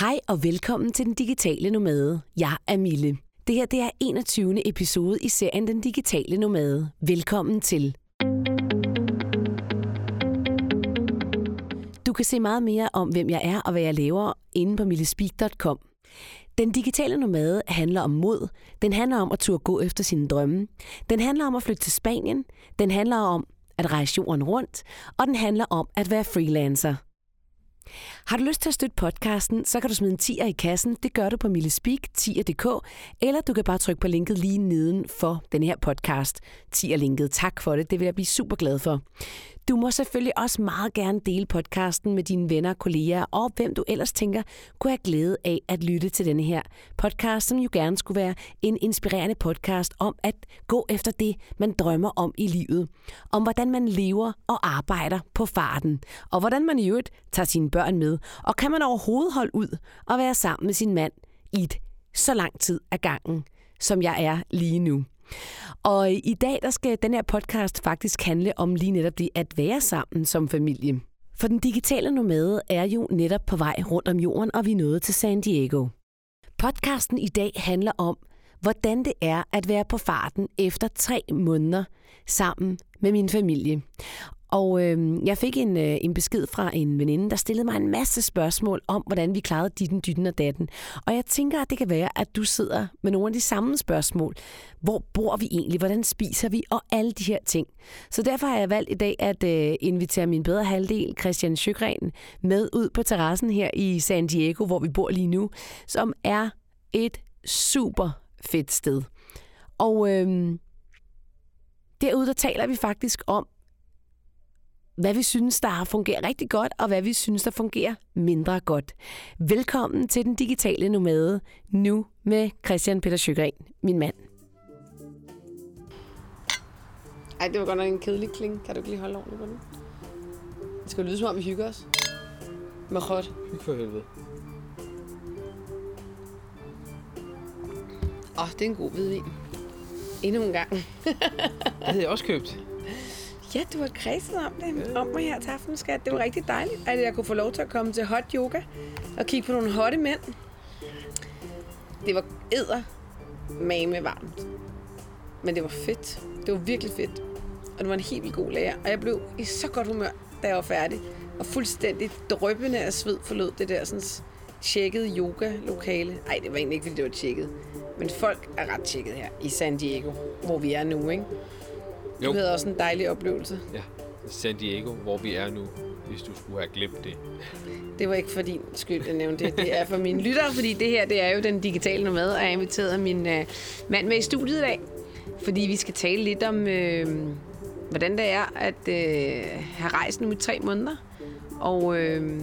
Hej og velkommen til Den Digitale Nomade. Jeg er Mille. Det her det er 21. episode i serien Den Digitale Nomade. Velkommen til. Du kan se meget mere om, hvem jeg er og hvad jeg laver inde på millespeak.com. Den digitale nomade handler om mod. Den handler om at turde gå efter sine drømme. Den handler om at flytte til Spanien. Den handler om at rejse jorden rundt. Og den handler om at være freelancer. Har du lyst til at støtte podcasten, så kan du smide en 10'er i kassen. Det gør du på millespeak10.dk, eller du kan bare trykke på linket lige neden for den her podcast. 10'er-linket, tak for det. Det vil jeg blive super glad for. Du må selvfølgelig også meget gerne dele podcasten med dine venner, kolleger og hvem du ellers tænker kunne have glæde af at lytte til denne her podcast, som jo gerne skulle være en inspirerende podcast om at gå efter det, man drømmer om i livet. Om hvordan man lever og arbejder på farten. Og hvordan man i øvrigt tager sine børn med. Og kan man overhovedet holde ud og være sammen med sin mand i et så lang tid ad gangen, som jeg er lige nu. Og i dag der skal den her podcast faktisk handle om lige netop det at være sammen som familie. For den digitale nomade er jo netop på vej rundt om jorden, og vi er nået til San Diego. Podcasten i dag handler om, hvordan det er at være på farten efter tre måneder sammen med min familie. Og øh, jeg fik en, øh, en besked fra en veninde, der stillede mig en masse spørgsmål om, hvordan vi klarede ditten, dytten og datten. Og jeg tænker, at det kan være, at du sidder med nogle af de samme spørgsmål. Hvor bor vi egentlig? Hvordan spiser vi? Og alle de her ting. Så derfor har jeg valgt i dag at øh, invitere min bedre halvdel, Christian Sjøgren, med ud på terrassen her i San Diego, hvor vi bor lige nu, som er et super fedt sted. Og øh, derude, der taler vi faktisk om, hvad vi synes, der fungerer rigtig godt, og hvad vi synes, der fungerer mindre godt. Velkommen til Den Digitale Nomade, nu med Christian Peter Sjøgren, min mand. Ej, det var godt nok en kedelig kling. Kan du ikke lige holde ordentligt på den? Det skal jo lyde som om, vi hygger os. Med hot. Ikke for helvede. Åh, oh, det er en god hvidvin. Endnu en gang. Det havde jeg også købt. Ja, du har kredset om det. Om mig her til aften, skat. Det var rigtig dejligt, at jeg kunne få lov til at komme til hot yoga og kigge på nogle hotte mænd. Det var æder med varmt. Men det var fedt. Det var virkelig fedt. Og det var en helt vildt god lærer. Og jeg blev i så godt humør, da jeg var færdig. Og fuldstændig drøbende af sved forlod det der sådan tjekkede yoga-lokale. Ej, det var egentlig ikke, fordi det var tjekket. Men folk er ret tjekket her i San Diego, hvor vi er nu, ikke? Du Jo. havde også en dejlig oplevelse. Ja. San Diego, hvor vi er nu, hvis du skulle have glemt det. Det var ikke for din skyld, jeg nævnte det. Det er for mine lyttere, fordi det her det er jo den digitale nomad, og jeg har inviteret min øh, mand med i studiet i dag. Fordi vi skal tale lidt om, øh, hvordan det er at øh, have rejst nu i tre måneder. Og øh,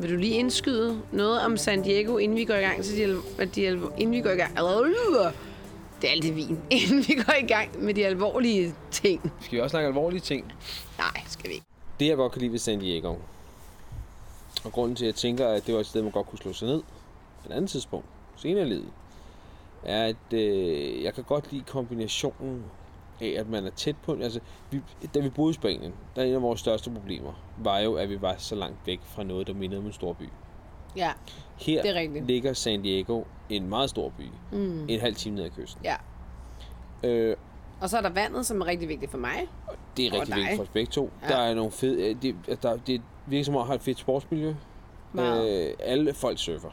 vil du lige indskyde noget om San Diego, inden vi går i gang til de, alv- at de alv- inden vi går i gang. Det er altid vin. Inden vi går i gang med de alvorlige ting. Skal vi også snakke alvorlige ting? Nej, skal vi ikke. Det, jeg godt kan lide ved San Diego, og grunden til, at jeg tænker, at det var et sted, man godt kunne slå sig ned, på et andet tidspunkt, senere i livet, er, at øh, jeg kan godt lide kombinationen af, at man er tæt på... Altså, vi, da vi boede i Spanien, der er en af vores største problemer, var jo, at vi var så langt væk fra noget, der mindede om en stor by. Ja, Her Det er rigtigt. ligger San Diego, en meget stor by, mm. en halv time ned ad kysten. ja. Øh, Og så er der vandet, som er rigtig vigtigt for mig. Det er Og rigtig dig. vigtigt for os begge to. Ja. Ja. Der er nogle fede... øh, Det, at der, det virker som om, at har et fedt sportsmiljø. Meget. Øh, alle folk surfer.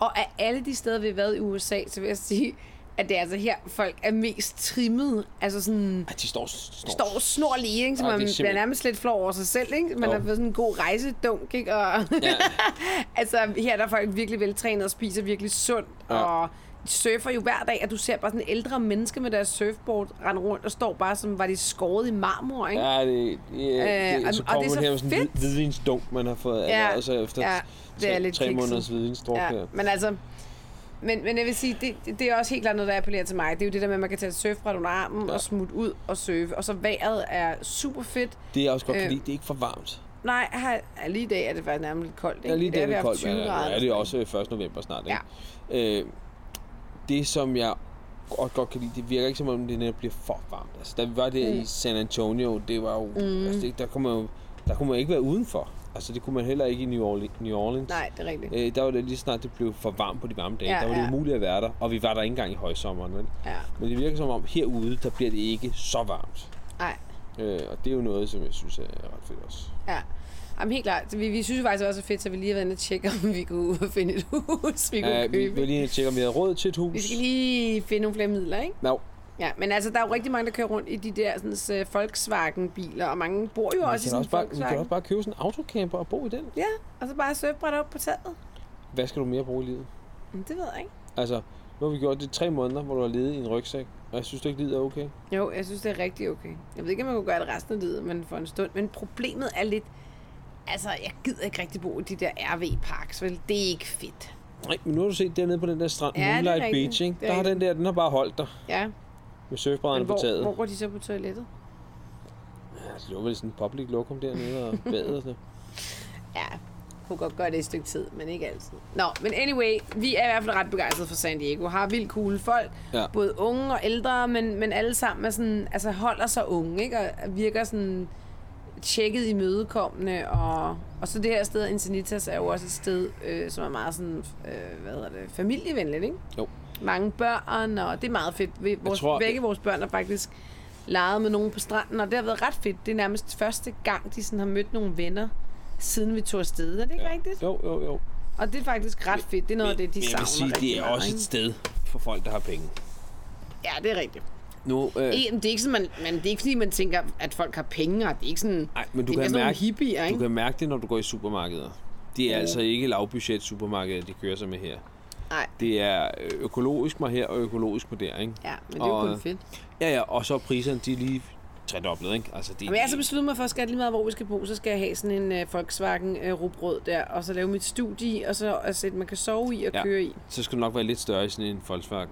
Og af alle de steder, vi har været i USA, så vil jeg sige, at det er altså her, folk er mest trimmet. Altså sådan Ej, de står... står. står snor lige, ikke? Så Ej, man det simpelthen... er bliver simpelthen- nærmest lidt flov over sig selv, ikke? Man Jo. har fået sådan en god rejsedunk, ikke? Og Ja. altså, her der er folk virkelig veltrænet og spiser virkelig sundt, ja. Ja. og surfer jo hver dag, og du ser bare sådan ældre mennesker med deres surfboard rende rundt og står bare som, var de skåret i marmor, ikke? Ja, det, det, øh, og- det, så og kommer det er man så her med sådan en fedt. hvid- hvidvinsdunk, man har fået. Ja. Ja. Og så efter Ja, ja. det er tre, lidt tre kikset. måneders hvidvinsdruk ja. Ja, her. men altså... Men, men jeg vil sige, det, det, det er også helt klart noget, der appellerer til mig. Det er jo det der med, at man kan tage et surfbræt under armen ja. og smutte ud og surfe. Og så vejret er super fedt. Det jeg også godt kan Øh, lide, det er ikke for varmt. Nej, her, ja, lige i dag er det faktisk nærmest lidt koldt. Ikke? Ja, lige I dag det, har vi det er haft koldt. 20 men Ja, grader. ja, det er også 1. november snart. Ikke? Ja. Øh, det, som jeg godt, godt kan lide, det virker ikke som om, det netop bliver for varmt. Altså, da vi var der mm. i San Antonio, det var jo... Mm. Altså, det, der kunne man jo der kunne man ikke være udenfor. Altså, det kunne man heller ikke i New Orleans. New Orleans. Nej, det er rigtigt. Øh, der var det lige snart, det blev for varmt på de varme dage. Ja, Ja, der var det ja. umuligt at være der, og vi var der ikke engang i højsommeren. Vel? Ja. Men det virker som om, herude, der bliver det ikke så varmt. Nej, Øh, og det er jo noget, som jeg synes er ret fedt også. ja. Jamen helt klart. Så Vi, vi synes jo faktisk også, det var så fedt, så vi lige har været inde og tjekke, om vi kunne finde et hus, vi kunne Ja, ja, Øh, vi købe. vil lige tjekke, om vi havde råd til et hus. Vi skal lige finde nogle flere midler, ikke? Nå, Ja, men altså, der er jo rigtig mange, der kører rundt i de der sådan, uh, Volkswagen-biler, og mange bor jo vi, også i kan sådan en også bare, vi kan Volkswagen. også bare købe sådan en autocamper og bo i den. Ja, og så bare surfbræt op på taget. Hvad skal du mere bruge i livet? Men det ved jeg ikke. Altså, nu har vi gjort det i tre måneder, hvor du har levet i en rygsæk. Og jeg synes, du ikke lider okay. Jo, jeg synes, det er rigtig okay. Jeg ved ikke, om man kunne gøre det resten af livet, men for en stund. Men problemet er lidt... Altså, jeg gider ikke rigtig bo i de der RV-parks, vel? Det er ikke fedt. Nej, men nu har du set dernede på den der strand, Ja, ja, det er Moonlight rigtigt. Beach, ikke? Det er Der har den der, den har bare holdt dig Ja, med men surfbrædderne på hvor, taget. hvor går de så på toilettet? Ja, det var vel sådan en public lokum dernede og badet og sådan noget. Ja, kunne godt gøre det et stykke tid, men ikke altid. Nå, men anyway, vi er i hvert fald ret begejstrede for San Diego. Har vildt cool folk, Ja. både unge og ældre, men, men alle sammen er sådan, altså holder sig unge, ikke? Og virker sådan tjekket i mødekommende. Og, og så det her sted, Encinitas, er jo også et sted, øh, som er meget sådan, øh, hvad hedder det, familievenligt, ikke? Jo. Mange børn, og det er meget fedt. Vi, vores, tror, tror- begge vores børn har faktisk leget med nogen på stranden, og det har været ret fedt. Det er nærmest første gang, de sådan har mødt nogle venner, siden vi tog afsted. Er det ikke ja. rigtigt? Jo, jo, jo. Og det er faktisk ret fedt. Det er noget af det, de Men savner jeg vil sige, rigtig det er meget, også ikke? et sted for folk, der har penge. Ja, det er rigtigt. Nu, øh, Ja. Det, er ikke sådan, man, man, det er ikke fordi, man tænker, at folk har penge, og det er ikke sådan... ej, men du det er mere kan, sådan nogle mærke, hippier, ikke? du kan mærke det, når du går i supermarkeder. Det er altså ikke lavbudget supermarkeder, de kører sig med her. Nej. Det er øh, økologisk mig her og økologisk mig der, ikke? Ja, men det er jo Og- øh, kun fedt. Ja, ja, og så er priserne, de er lige tredoblet, ikke? Altså, det, Jamen, jeg har så besluttet mig for, at skal lige meget, hvor vi skal bo, så skal jeg have sådan en øh, Volkswagen øh, rubrød der, og så lave mit studie i, og så altså, et, man kan sove i og ja. Ja. køre i. så skal du nok være lidt større i sådan en Volkswagen.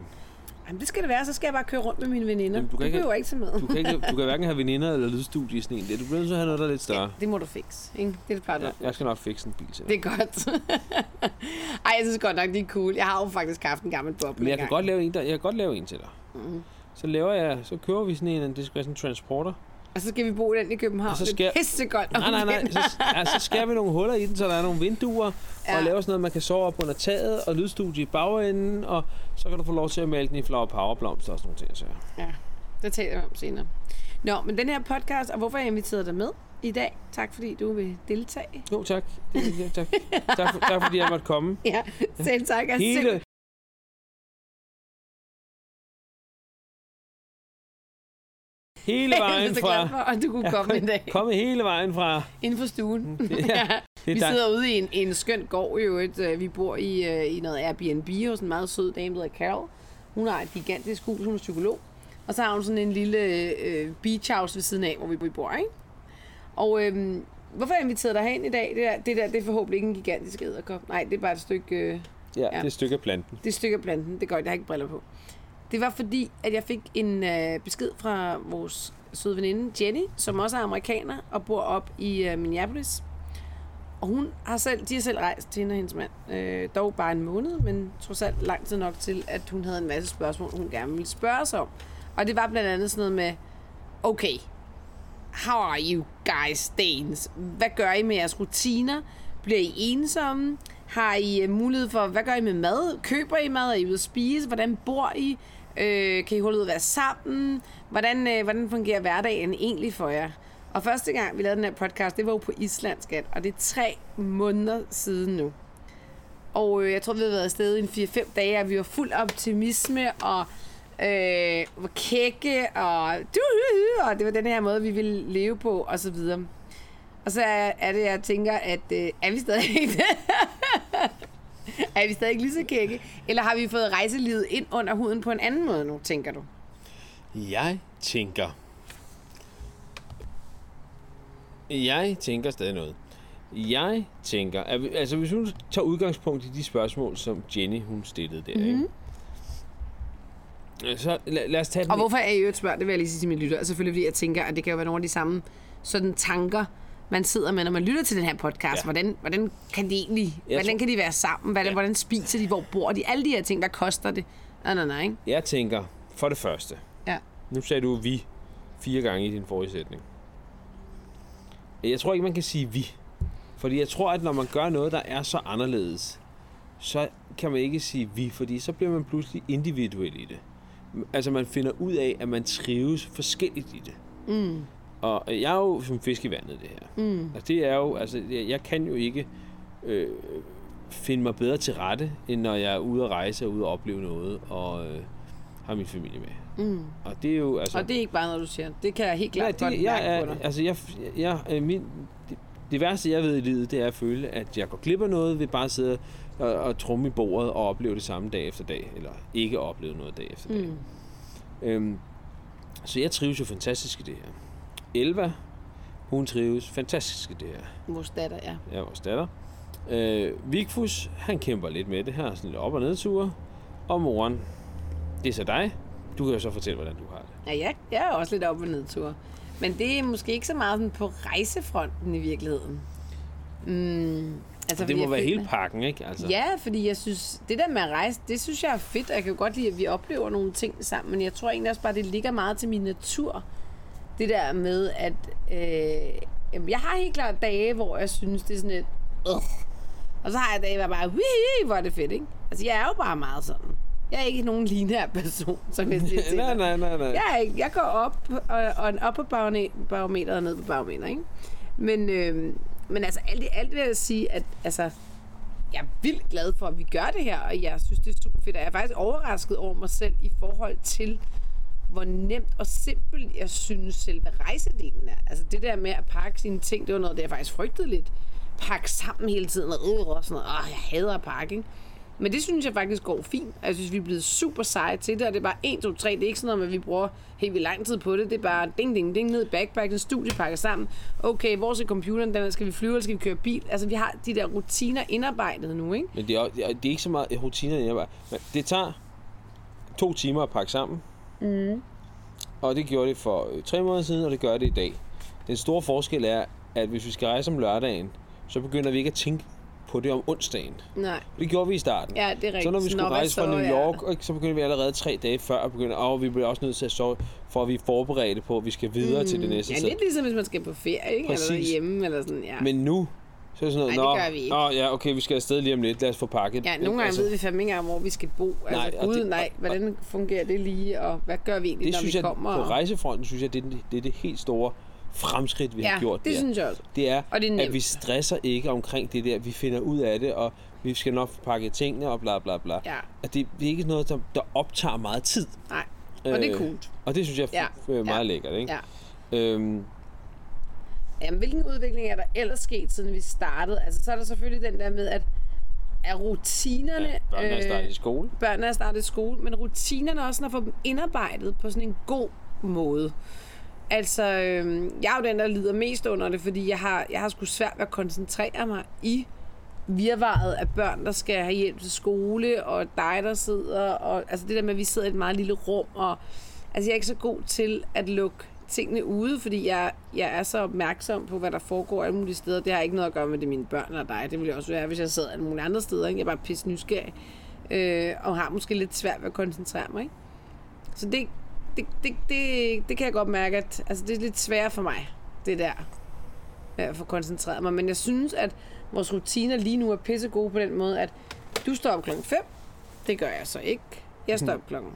Jamen, det skal det være, så skal jeg bare køre rundt med mine veninder. Jamen, du kan det ikke- behøver jeg ikke tage med. Du kan, ikke, du kan hverken have veninder eller lydstudie i sådan en. der. Du bliver nødt til at have noget, der er lidt større. Det må du fikse, ikke? Det er det plejer du Ja, jeg skal nok fikse en bil til dig. Det er godt. Ej, jeg synes godt nok, det er cool. Jeg har jo faktisk haft en gammel boble Men jeg kan engang. godt lave en, der, jeg kan godt lave en til dig. Mhm. Så laver jeg, så kører vi sådan en, det skal være sådan en transporter. Og så skal vi bo i den i København. Og så Det skal- er pissegodt. Nej, nej, nej. Så, ja, så skærer vi nogle huller i den, så der er nogle vinduer, ja. Ja. og laver sådan noget, man kan sove op under taget, og lydstudie i bagenden, og så kan du få lov til at male den i flower powerblomster og sådan nogle ting. Så. Ja, det taler vi om senere. Nå, men den her podcast, og hvorfor jeg inviterede dig med i dag. Tak fordi du vil deltage. Jo, tak. Det, ja, tak. tak, for, tak, fordi jeg måtte komme. Ja, selv tak. Jeg er Hele, simpel- hele vejen så glad for, fra... at du kunne komme i dag. Mm. Komme hele vejen fra... Inden for stuen. Ja, det Vi er dig. sidder ude i en, en skøn gård jo, et, øh, vi bor i, øh, i noget Airbnb hos en meget sød dame, der hedder Carol. Hun har et gigantisk hus, hun er psykolog. Og så har hun sådan en lille øh, beach house ved siden af, hvor vi vi bor, ikke? Og øhm, hvorfor jeg inviterede dig herind i dag, det der, det der, det er forhåbentlig ikke en gigantisk æderkop. Nej, det er bare et stykke, øh, det Ja, det er et stykke af planten. er et stykke af planten. Det er godt, jeg har ikke briller på. Det var fordi, at jeg fik en øh, besked fra vores søde veninde Jenny, som også er amerikaner og bor op i øh, Minneapolis. Og hun har selv, de har selv rejst til hende og hendes mand. Øh, dog bare en måned, men trods alt lang tid nok til, at hun havde en masse spørgsmål, hun gerne ville spørge os om. Og det var blandt andet sådan noget med, okay, how are you guys Danes? Hvad gør I med jeres rutiner? Bliver I ensomme? Har I øh, mulighed for, hvad gør I med mad? Køber I mad? Er I ude at spise? Hvordan bor I? Øh, kan I holde ud at være sammen? Hvordan, øh, hvordan fungerer hverdagen egentlig for jer? Og første gang, vi lavede den her podcast, det var jo på Island, skat. Og det er tre måneder siden nu. Og øh, jeg tror, vi har været afsted i en 4-5 dage, og vi var fuld af optimisme og øh, var kække, og, og det var den her måde, vi ville leve på, og så videre. Og så er, er det, jeg tænker, at øh, er vi stadig ikke det? er vi stadig ikke lige så kække? Eller har vi fået rejselivet ind under huden på en anden måde nu, tænker du? Jeg tænker... Jeg tænker stadig noget. Jeg tænker... at vi- Altså, hvis hun tager udgangspunkt i de spørgsmål, som Jenny, hun stillede der, Mhm. mm-hmm. ikke? Så lad, lad os tage den Og hvorfor er I jo et spørg, det vil jeg lige sige til mine lytter, selvfølgelig fordi jeg tænker, at det kan jo være nogle af de samme sådan tanker, man sidder med, når man lytter til den her podcast. Ja. Ja. Hvordan, hvordan kan de egentlig, Jeg hvordan tror- kan de være sammen? Hvordan, ja. Ja. hvordan spiser de? Hvor bor de? Alle de her ting, hvad koster det? Nej, nej, nej, ikke? Jeg tænker, for det første... Ja. Nu sagde du vi fire gange i din forrige sætning. Jeg tror ikke, man kan sige vi. Fordi jeg tror, at når man gør noget, der er så anderledes, så kan man ikke sige vi, fordi så bliver man pludselig individuel i det. Altså man finder ud af, at man trives forskelligt i det. Mm. Og jeg er jo som fisk i vandet, det her. Mm. Og det er jo, altså, jeg, jeg kan jo ikke øh, finde mig bedre til rette, end når jeg er ude at rejse og ude at opleve noget, og øh, har min familie med. Mm. Og det er jo, altså... Og det er ikke bare noget, du siger. Det kan jeg helt klart Nej, det, godt mærke jeg er, på dig. Altså, jeg, jeg, øh, min, det, det værste, jeg ved i livet, det er at føle, at jeg går glip af noget ved bare at sidde og, og trumme i bordet og opleve det samme dag efter dag, eller ikke opleve noget dag efter dag. Mm. Øhm, så jeg trives jo fantastisk i det her. Elva, hun trives fantastisk i det her. Vores datter, ja. Jeg er vores datter. Øh, Vigfus, han kæmper lidt med det her, sådan lidt op- og nedture. Og moren, det er så dig. Du kan jo så fortælle, hvordan du har det. Ja, jeg, jeg er også lidt op- og nedtur. Men det er måske ikke så meget sådan på rejsefronten i virkeligheden. Mm, altså, det fordi må jeg være føler- hele pakken, ikke? Altså, Ja, fordi jeg synes, det der med at rejse, det synes jeg er fedt, og jeg kan jo godt lide, at vi oplever nogle ting sammen, men jeg tror egentlig også bare, det ligger meget til min natur. Det der med, at øh, jamen, jeg har helt klart dage, hvor jeg synes, det er sådan et... Øh. Og så har jeg dage, hvor jeg bare, "Hui, hvor er det fedt, ikke? Altså, jeg er jo bare meget sådan. Jeg er ikke nogen lineær person, som jeg siger til nej, dig. nej, nej, nej. Jeg, er ikke, jeg går op og, og en op på bagne- barometer og ned på barometer, ikke? Men, øh, men altså, alt, i alt vil jeg sige, at altså, jeg er vildt glad for, at vi gør det her, og jeg synes, det er super fedt. Og jeg er faktisk overrasket over mig selv i forhold til, hvor nemt og simpelt jeg synes selve rejsedelen er. Altså det der med at pakke sine ting, det var noget, der jeg faktisk frygtede lidt. Pakke sammen hele tiden og ud og sådan noget. Åh, jeg hader at pakke, ikke? Men det synes jeg faktisk går fint. Og Jeg synes, vi er blevet super seje til det, og det er bare 1, 2, 3. Det er ikke sådan noget med, at vi bruger helt vildt lang tid på det. Det er bare ding, ding, ding, ned i backpacken, studiepakker sammen. Okay, hvor skal computeren? Den skal vi flyve, eller skal vi køre bil? Altså, vi har de der rutiner indarbejdet nu, ikke? Men det er, det er det er ikke så meget rutinerne, jeg bare... Men det tager to timer at pakke sammen. Mm. Og det gjorde det for øh, tre måneder siden, og det gør det i dag. Den store forskel er, at hvis vi skal rejse om lørdagen, så begynder vi ikke at tænke på det om onsdagen. Nej. Det gjorde vi i starten. Ja, det er rigtigt. Så når vi skulle Nå, hvad rejse fra så, New ja. York, og så begyndte vi allerede tre dage før at begynde, og vi bliver også nødt til at sove, for at vi er forberedte på, at vi skal videre mm. til det næste Ja, sted. lidt ligesom hvis man skal på ferie, ikke? Præcis. Eller Præcis. hjemme, eller sådan, ja. Men nu, så er det sådan noget, Nej, det nå, gør vi ikke. Nå, ja, okay, vi skal afsted lige om lidt, Altså, lad os få pakket. ja, nogle gange ved vi fandme ikke engang, hvor vi skal bo. Altså, Nej, nej, og gud, det- det, nej, og- hvordan fungerer det lige, og hvad gør vi egentlig, det når synes vi jeg, kommer? på og- rejsefronten, synes jeg, det er, den- det er det helt store fremskridt, vi har ja, gjort det der. synes jeg også. Det er, Og det er at nemt. vi stresser ikke omkring det der, vi finder ud af det, og vi skal nok få pakket tingene og bla bla bla. Ja. At det, det er ikke noget, der, der optager meget tid. Nej, og det er Øh, cool. Og det synes jeg er f- Ja, øh, meget ja, lækkert, ikke? Ja. Øhm, Jamen, hvilken udvikling er der ellers sket, siden vi startede? Altså, så er der selvfølgelig den der med, at er rutinerne... ja, børnene øh, er startet i skole. børnene er startet i skole, men rutinerne også, når få dem indarbejdet på sådan en god måde. Altså, øhm, jeg er jo den, der lider mest under det, fordi jeg har, jeg har sgu svært ved at koncentrere mig i virvaret af børn, der skal have hjælp til skole, og dig, der sidder, og altså det der med, at vi sidder i et meget lille rum, og altså jeg er ikke så god til at lukke tingene ude, fordi jeg, jeg er så opmærksom på, hvad der foregår alle mulige steder. Det har ikke noget at gøre med, det er mine børn og dig. Det ville jeg også være, hvis jeg sad alle mulige andre steder. Ikke? Jeg er bare pisse nysgerrig, øh, og har måske lidt svært ved at koncentrere mig. Ikke? Så det, det, det, det, det kan jeg godt mærke, at altså, det er lidt sværere for mig, det der med at få koncentreret mig. Men jeg synes, at vores rutiner lige nu er pissegode på den måde, at du står op klokken 5. Det gør jeg så ikke. Jeg står op klokken...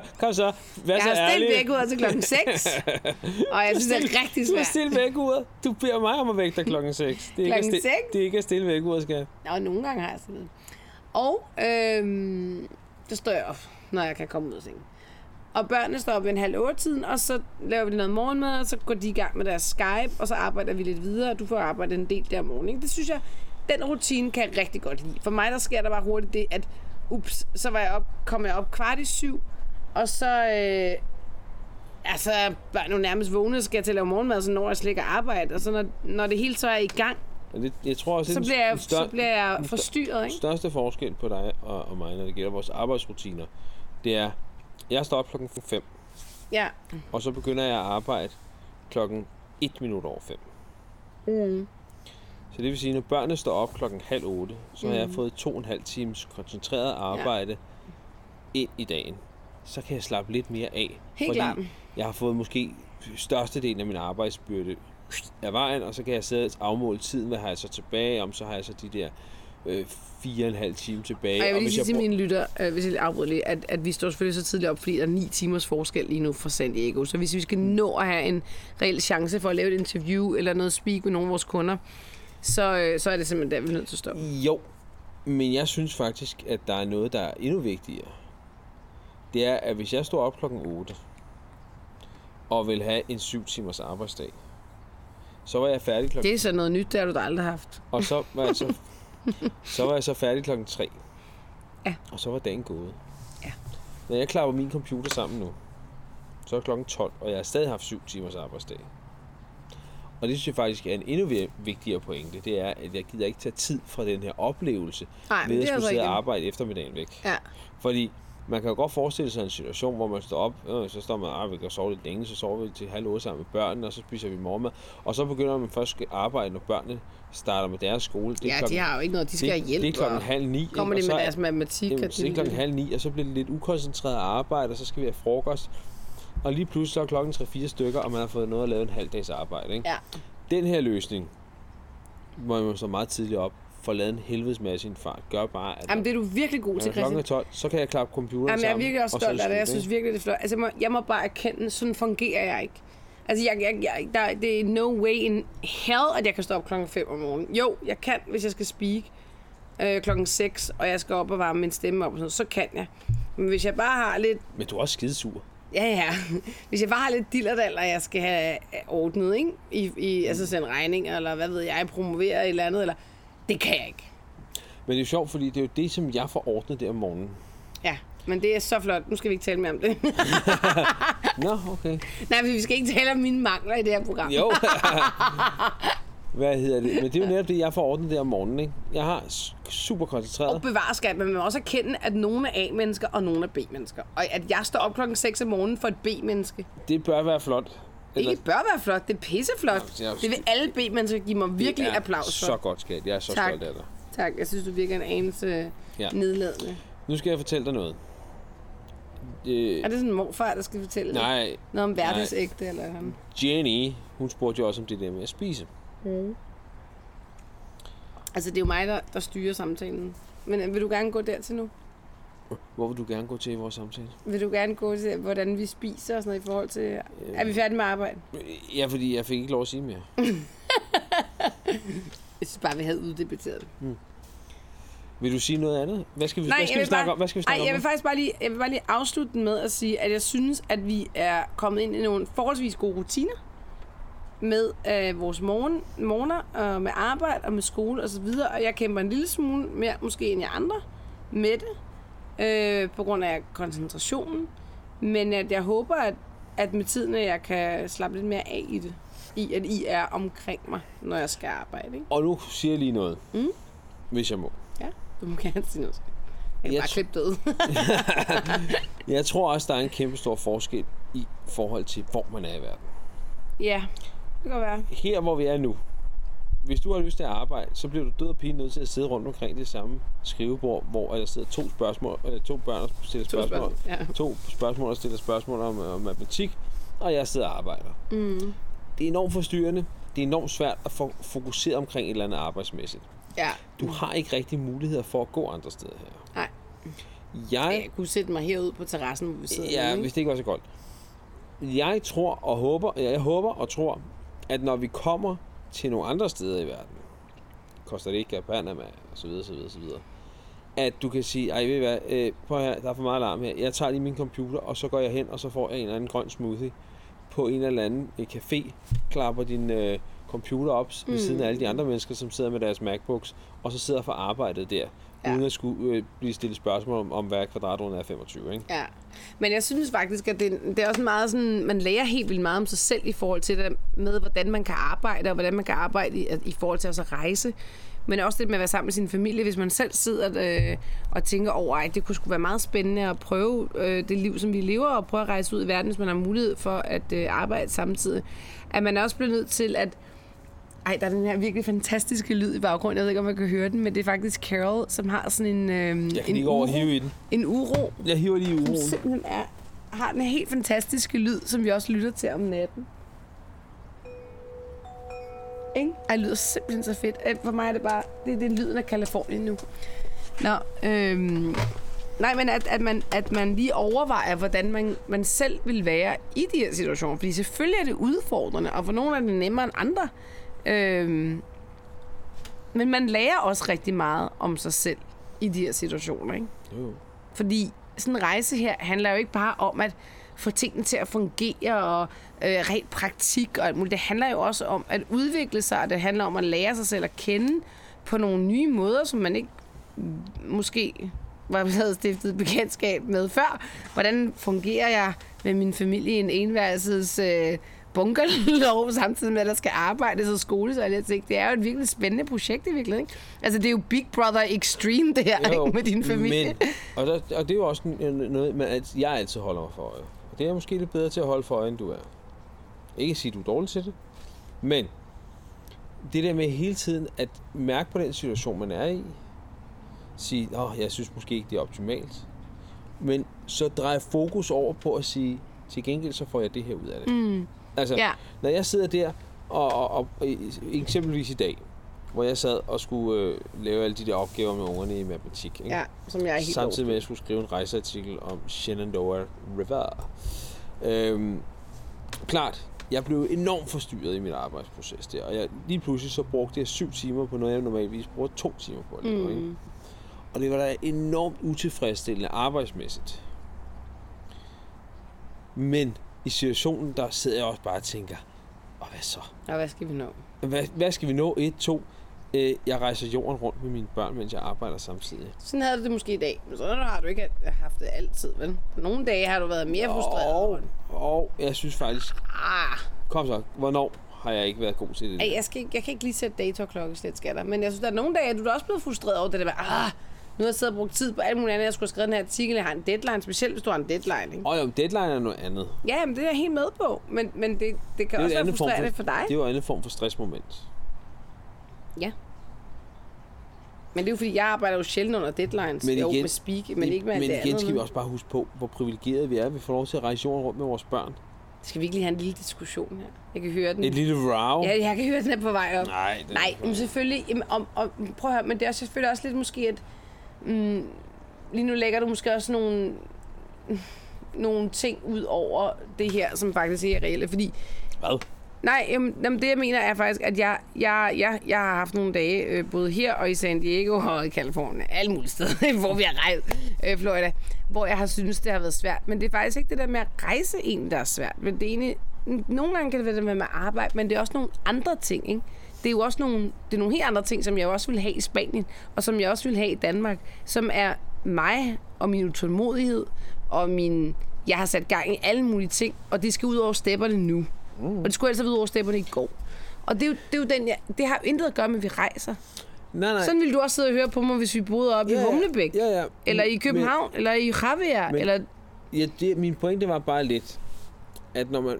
Kom så, vær Jeg så har ærlig. stillet væk ud til klokken 6. Og jeg synes, det er rigtig Du har svært. stille væk uret. Du beder mig om at vække dig klokken 6. Klokken Det er ikke at stille, seks? det er ikke at stille væk uret, skal Og nogle gange har jeg sådan noget. Og øhm, så står jeg op, når jeg kan komme ud af sengen. Og børnene står op ved en halv otte tiden, og så laver vi noget morgenmad, og så går de i gang med deres Skype, og så arbejder vi lidt videre, og du får arbejdet en del der om morgenen. ikke? Det synes jeg, den rutine kan jeg rigtig godt lide. For mig, der sker der bare hurtigt det, at ups, så var jeg op, kom jeg op kvart i syv, og så, øh, altså, bare nu nærmest vågne, så skal jeg til at lave morgenmad, så når jeg slet ikke at arbejde, og så når, når det hele så er i gang, Men det, jeg tror også, så det bliver er jeg, den, stør- så bliver jeg den stør- forstyrret, ikke? største forskel på dig og, og mig, når det gælder vores arbejdsrutiner, det er, jeg står op klokken 5, Ja. og så begynder jeg at arbejde klokken 1 minut over 5. Mm. Så det vil sige, når børnene står op klokken halv 8, så har Mm. jeg fået to og en halv times koncentreret arbejde ind i dagen. Så kan jeg slappe lidt mere af. klart. jeg har fået måske størstedelen af min arbejdsbyrde af vejen, og så kan jeg sidde og afmåle tiden, hvad har jeg så tilbage om, så har jeg så de der øh, fire og en halv time tilbage. Og jeg vil lige hvis sige til bruger- mine lytter, øh, hvis jeg lige afbryder lige, at, at vi står selvfølgelig så tidligt op, fordi der er ni timers forskel lige nu fra San Diego. Så hvis vi skal nå at have en reel chance for at lave et interview eller noget speak med nogle af vores kunder, så, øh, så er det simpelthen der, vi er nødt til at stoppe. Jo, men jeg synes faktisk, at der er noget, der er endnu vigtigere. Det er, at hvis jeg står op klokken 8 og vil have en 7 timers arbejdsdag, så var jeg færdig klokken Det er så noget nyt, det har du da aldrig haft. Og så var jeg så, så, var jeg så færdig klokken 3. Ja. Og så var dagen gået. Ja. Når jeg klapper min computer sammen nu, så er klokken 12, og jeg har stadig haft 7 timers arbejdsdag. Og det synes jeg faktisk er en endnu vi- vigtigere pointe, det er, at jeg gider ikke tage tid fra den her oplevelse, Nej, men ved det at er skulle altså sidde og rigtigt. arbejde eftermiddagen væk. Ja. Fordi man kan jo godt forestille sig en situation, hvor man står op, øh, så står man, ah, vi kan sove lidt længe, så sover vi til halv otte sammen med børnene, og så spiser vi morgenmad. Og så begynder man først at arbejde, når børnene starter med deres skole. Det er Ja, de klokken- har jo ikke noget. De skal have det, hjælp. Det er klokken og halv ni. ikke? Kommer Og de så med er- deres matematik? Jamen, og så er det klokken halv ni, og så bliver det lidt ukoncentreret arbejde, og så skal vi have frokost. Og lige pludselig så er klokken 3-4 stykker, og man har fået noget at lave en halv dags arbejde. Ikke? Ja. Den her løsning, hvor man står meget tidligt op, får lavet en helvedes masse i en fart, gør bare, at Jamen, det er du virkelig god til, når klokken Christian. er 12, så kan jeg klappe computeren Jamen, jeg er sammen. virkelig også og så er stolt af det. Jeg slut, synes virkelig, det er flot. Altså, jeg må, jeg må bare erkende, sådan fungerer jeg ikke. Altså, jeg, jeg, jeg, der, det er no way in hell, at jeg kan stå op klokken 5 om morgenen. Jo, jeg kan, hvis jeg skal speak øh, klokken 6, og jeg skal op og varme min stemme op og sådan noget, så kan jeg. Men hvis jeg bare har lidt Men du er også skidesur. Ja, ja. Hvis jeg bare har lidt dillerdal, og jeg skal have øh, ordnet, ikke? I, i, altså sende regninger, eller hvad ved jeg, promovere et eller andet, eller... Det kan jeg ikke. Men det er jo sjovt, fordi det er jo det, som jeg får ordnet der om morgenen. Ja, men det er så flot. Nu skal vi ikke tale mere om det. Nå, okay. Nej, fordi vi skal ikke tale om mine mangler i det her program. Jo. Hvad hedder det? Men det er jo netop det, jeg får ordnet der om morgenen, ikke? Jeg har s- super Og koncentreret. bevare skat, men man må også erkende, at nogle er A-mennesker, og nogle er B-mennesker. Og at jeg står op klokken 6 om morgenen for et B-menneske. Det bør være flot. Ikke det bør være flot, det er pisseflot. Nå, det er jo- Det vil alle B-mennesker give mig virkelig det er applaus for. så godt, skat. Jeg er så Tak. stolt af dig. Tak, jeg synes, du virker en anelse Ja. ja. nedladende. Nu skal jeg fortælle dig noget. Øh, Er det sådan en morfar, der skal fortælle det? nej, Noget om Nej. verdensægte eller ham. Jenny, hun spurgte jo også om det der med at spise. Altså, det er jo mig, der, der styrer samtalen. Men øh, vil du gerne gå dertil nu? Hvor vil du gerne gå til i vores samtale? Vil du gerne gå til, hvordan vi spiser og sådan noget i forhold til... Er vi færdige med arbejde? Øh, Ja, fordi jeg fik ikke lov at sige mere. Jeg synes bare, vi havde uddebatteret det. Vil du sige noget andet? Hvad skal vi, Nej, hvad skal jeg vi vil snakke bare- om? Hvad skal vi snakke Nej, jeg om? vil faktisk bare lige, jeg vil bare lige afslutte den med at sige, at jeg synes, at vi er kommet ind i nogle forholdsvis gode rutiner med øh, vores morgen, morgener, og med arbejde og med skole og så videre. Og jeg kæmper en lille smule mere måske end jeg andre med det, øh, på grund af koncentrationen. Men at jeg håber, at, at med tiden, at jeg kan slappe lidt mere af i det. I, at I er omkring mig, når jeg skal arbejde. Ikke? Og nu siger jeg lige noget. Mm. Hvis jeg må. Ja, du må gerne sige noget. Jeg kan Jeg bare tr- klippe det ud. Jeg tror også, der er en kæmpe stor forskel i forhold til, hvor man er i verden. ja, det kan godt være. Her, hvor vi er nu. Hvis du har lyst til at arbejde, så bliver du død og pine nødt til at sidde rundt omkring det samme skrivebord, hvor der sidder to, spørgsmål, øh, to børn og stiller To spørgsmål. spørgsmål, ja. to spørgsmål og stiller spørgsmål om, øh, om matematik, og jeg sidder og arbejder. Mm. Det er enormt forstyrrende. Det er enormt svært at få fokusere omkring et eller andet arbejdsmæssigt. Ja, Du har ikke rigtig muligheder for at gå andre steder her. nej. Jeg Jeg kunne sætte mig herud på terrassen, hvor vi sidder Ja, nu, hvis det ikke var så godt. Jeg tror og håber, ja, jeg håber og tror, at når vi kommer til nogle andre steder i verden, Costa Rica, Panama og så videre, så videre, så videre, at du kan sige, ej, ved I hvad, øh, prøv her, der er for meget larm her. Jeg tager lige min computer, og så går jeg hen, og så får jeg en eller anden grøn smoothie på en eller anden øh, café, klapper din øh, computer op mm. ved siden af alle de andre mennesker, som sidder med deres MacBooks, og så sidder for arbejdet der, ja. Ja. uden at skulle øh, blive stillet spørgsmål om, om hvad kvadratrunden er 25, ikke? Ja. Men jeg synes faktisk, at det, det er også meget sådan, man lærer helt vildt meget om sig selv i forhold til det med, hvordan man kan arbejde, og hvordan man kan arbejde i, i forhold til også at rejse. Men også det med at være sammen med sin familie, hvis man selv sidder øh, og tænker over, at det kunne sgu være meget spændende at prøve øh, det liv, som vi lever, og prøve at rejse ud i verden, hvis man har mulighed for at øh, arbejde samtidig. At man også bliver nødt til at ej, der er den her virkelig fantastiske lyd i baggrunden. Jeg ved ikke, om man kan høre den, men det er faktisk Carol, som har sådan en, øh, Jeg kan en, ikke over uro, at hive i den. en uro, Jeg hiver lige i som uroen. simpelthen er, har den helt fantastiske lyd, som vi også lytter til om natten. Ikke? Ej, det lyder simpelthen så fedt. Ej, For mig er det bare, det, det er lyden af Kalifornien nu. Nå, øhm, nej, men at, at, man, at man lige overvejer, hvordan man, man selv vil være i de her situationer. Fordi selvfølgelig er det udfordrende, og for nogle er det nemmere end andre. Øhm, men man lærer også rigtig meget om sig selv i de her situationer, ikke? Jo, jo. Fordi sådan en rejse her handler jo ikke bare om at få tingene til at fungere og øh, rent praktik og alt muligt. Det handler jo også om at udvikle sig, og det handler om at lære sig selv at kende på nogle nye måder, som man ikke mm, måske var havde stiftet bekendtskab med før. Hvordan fungerer jeg med min familie i en enværelses øh, bunkerlov, samtidig med, at der skal arbejdes og skole, så jeg tænkte, det er jo et virkelig spændende projekt i virkeligheden. ikke? Altså, det er jo Big Brother Extreme, det her, Jo, ikke, med din familie. Men, og, der, og det er jo også en- en- noget, man, alt- jeg altid holder mig for øje. Og det er jeg måske lidt bedre til at holde for øje, end du er. Ikke at sige, at du er dårlig til det, men det der med hele tiden at mærke på den situation, man er i, sige, åh, jeg synes måske ikke, det er optimalt, men så dreje fokus over på at sige, til gengæld så får jeg det her ud af det. Mm. Altså, Ja. når jeg sidder der, og, og, og i- eksempelvis i dag, hvor jeg sad og skulle øh, lave alle de der opgaver med ungerne i matematik, ikke? Ja, som jeg er helt samtidig med, at jeg skulle skrive en rejseartikel om Shenandoah River. Øhm, klart, jeg blev enormt forstyrret i min arbejdsproces der, og jeg, lige pludselig så brugte jeg syv timer på noget, jeg normalvis bruger to timer på at lave. Mm. Ikke? Og det var da enormt utilfredsstillende arbejdsmæssigt. Men i situationen, der sidder jeg også bare og tænker, og hvad så? Og hvad skal vi nå? Hvad, hvad skal vi nå? Et, to. Øh, jeg rejser jorden rundt med mine børn, mens jeg arbejder samtidig. Sådan havde du det måske i dag, men sådan har du ikke haft det altid, vel? Nogle dage har du været mere Og, frustreret. og jeg synes faktisk, Ah, kom så, hvornår har jeg ikke været god til det? Ej, jeg, skal, ikke- jeg kan ikke lige sætte dato og klokkeslæt, skatter. Men jeg synes, der er nogle dage, at du er da også blevet frustreret over det der med, ah, nu har jeg siddet og brugt tid på alt muligt andet, jeg skulle have skrevet den her artikel, jeg har en deadline, specielt hvis du har en deadline, ikke? Og jo, deadline er noget andet. Ja, jamen, det er jeg helt med på, men, men det, det kan det også en være anden frustrerende for, for dig. Det er jo en anden form for stressmoment. Ja. Men det er jo fordi, jeg arbejder jo sjældent under deadlines, Men men jo igen- med speak, men ikke med men det igen andet. skal vi vel? også bare huske på, hvor privilegerede vi er. Vi får lov til at rejse jorden rundt med vores børn. Mm. Skal vi ikke lige have en lille diskussion her? Jeg kan høre den. Et lille row. Ja, jeg kan høre, den er på vej op. Nej, den er Nej på vej men op. selvfølgelig. Jamen, om, om, prøv at høre, men det er også selvfølgelig også lidt måske, at mm, lige nu lægger du måske også nogle, nogle ting ud over det her, som faktisk ikke er reelle. Fordi, Hvad? nej, jamen, jamen, det jeg mener er faktisk, at jeg, jeg, jeg, jeg har haft nogle dage, øh, både her og i San Diego og i Kalifornien, alle mulige steder, hvor vi har rejst, øh, Florida, hvor jeg har syntes, det har været svært. Men det er faktisk ikke det der med at rejse en, der er svært. Men det er egentlig, nogle gange kan det være det med med arbejde, men det er også nogle andre ting, ikke? Det er jo også nogle, det er nogle helt andre ting, som jeg også ville have i Spanien, og som jeg også ville have i Danmark, som er mig og min utålmodighed, og min, jeg har sat gang i alle mulige ting, og det skal ud over stepperne nu. Mm. Og det skulle altså ud over stepperne i går. Og det er, jo, det er jo den, jeg, det har jo intet at gøre med, at vi rejser. Nej, nej. Sådan ville du også sidde og høre på mig, hvis vi boede oppe i Humlebæk. Ja, ja. Eller i København, men, eller i Javier, men- eller... Men, ja, det, min pointe var bare lidt, at når man,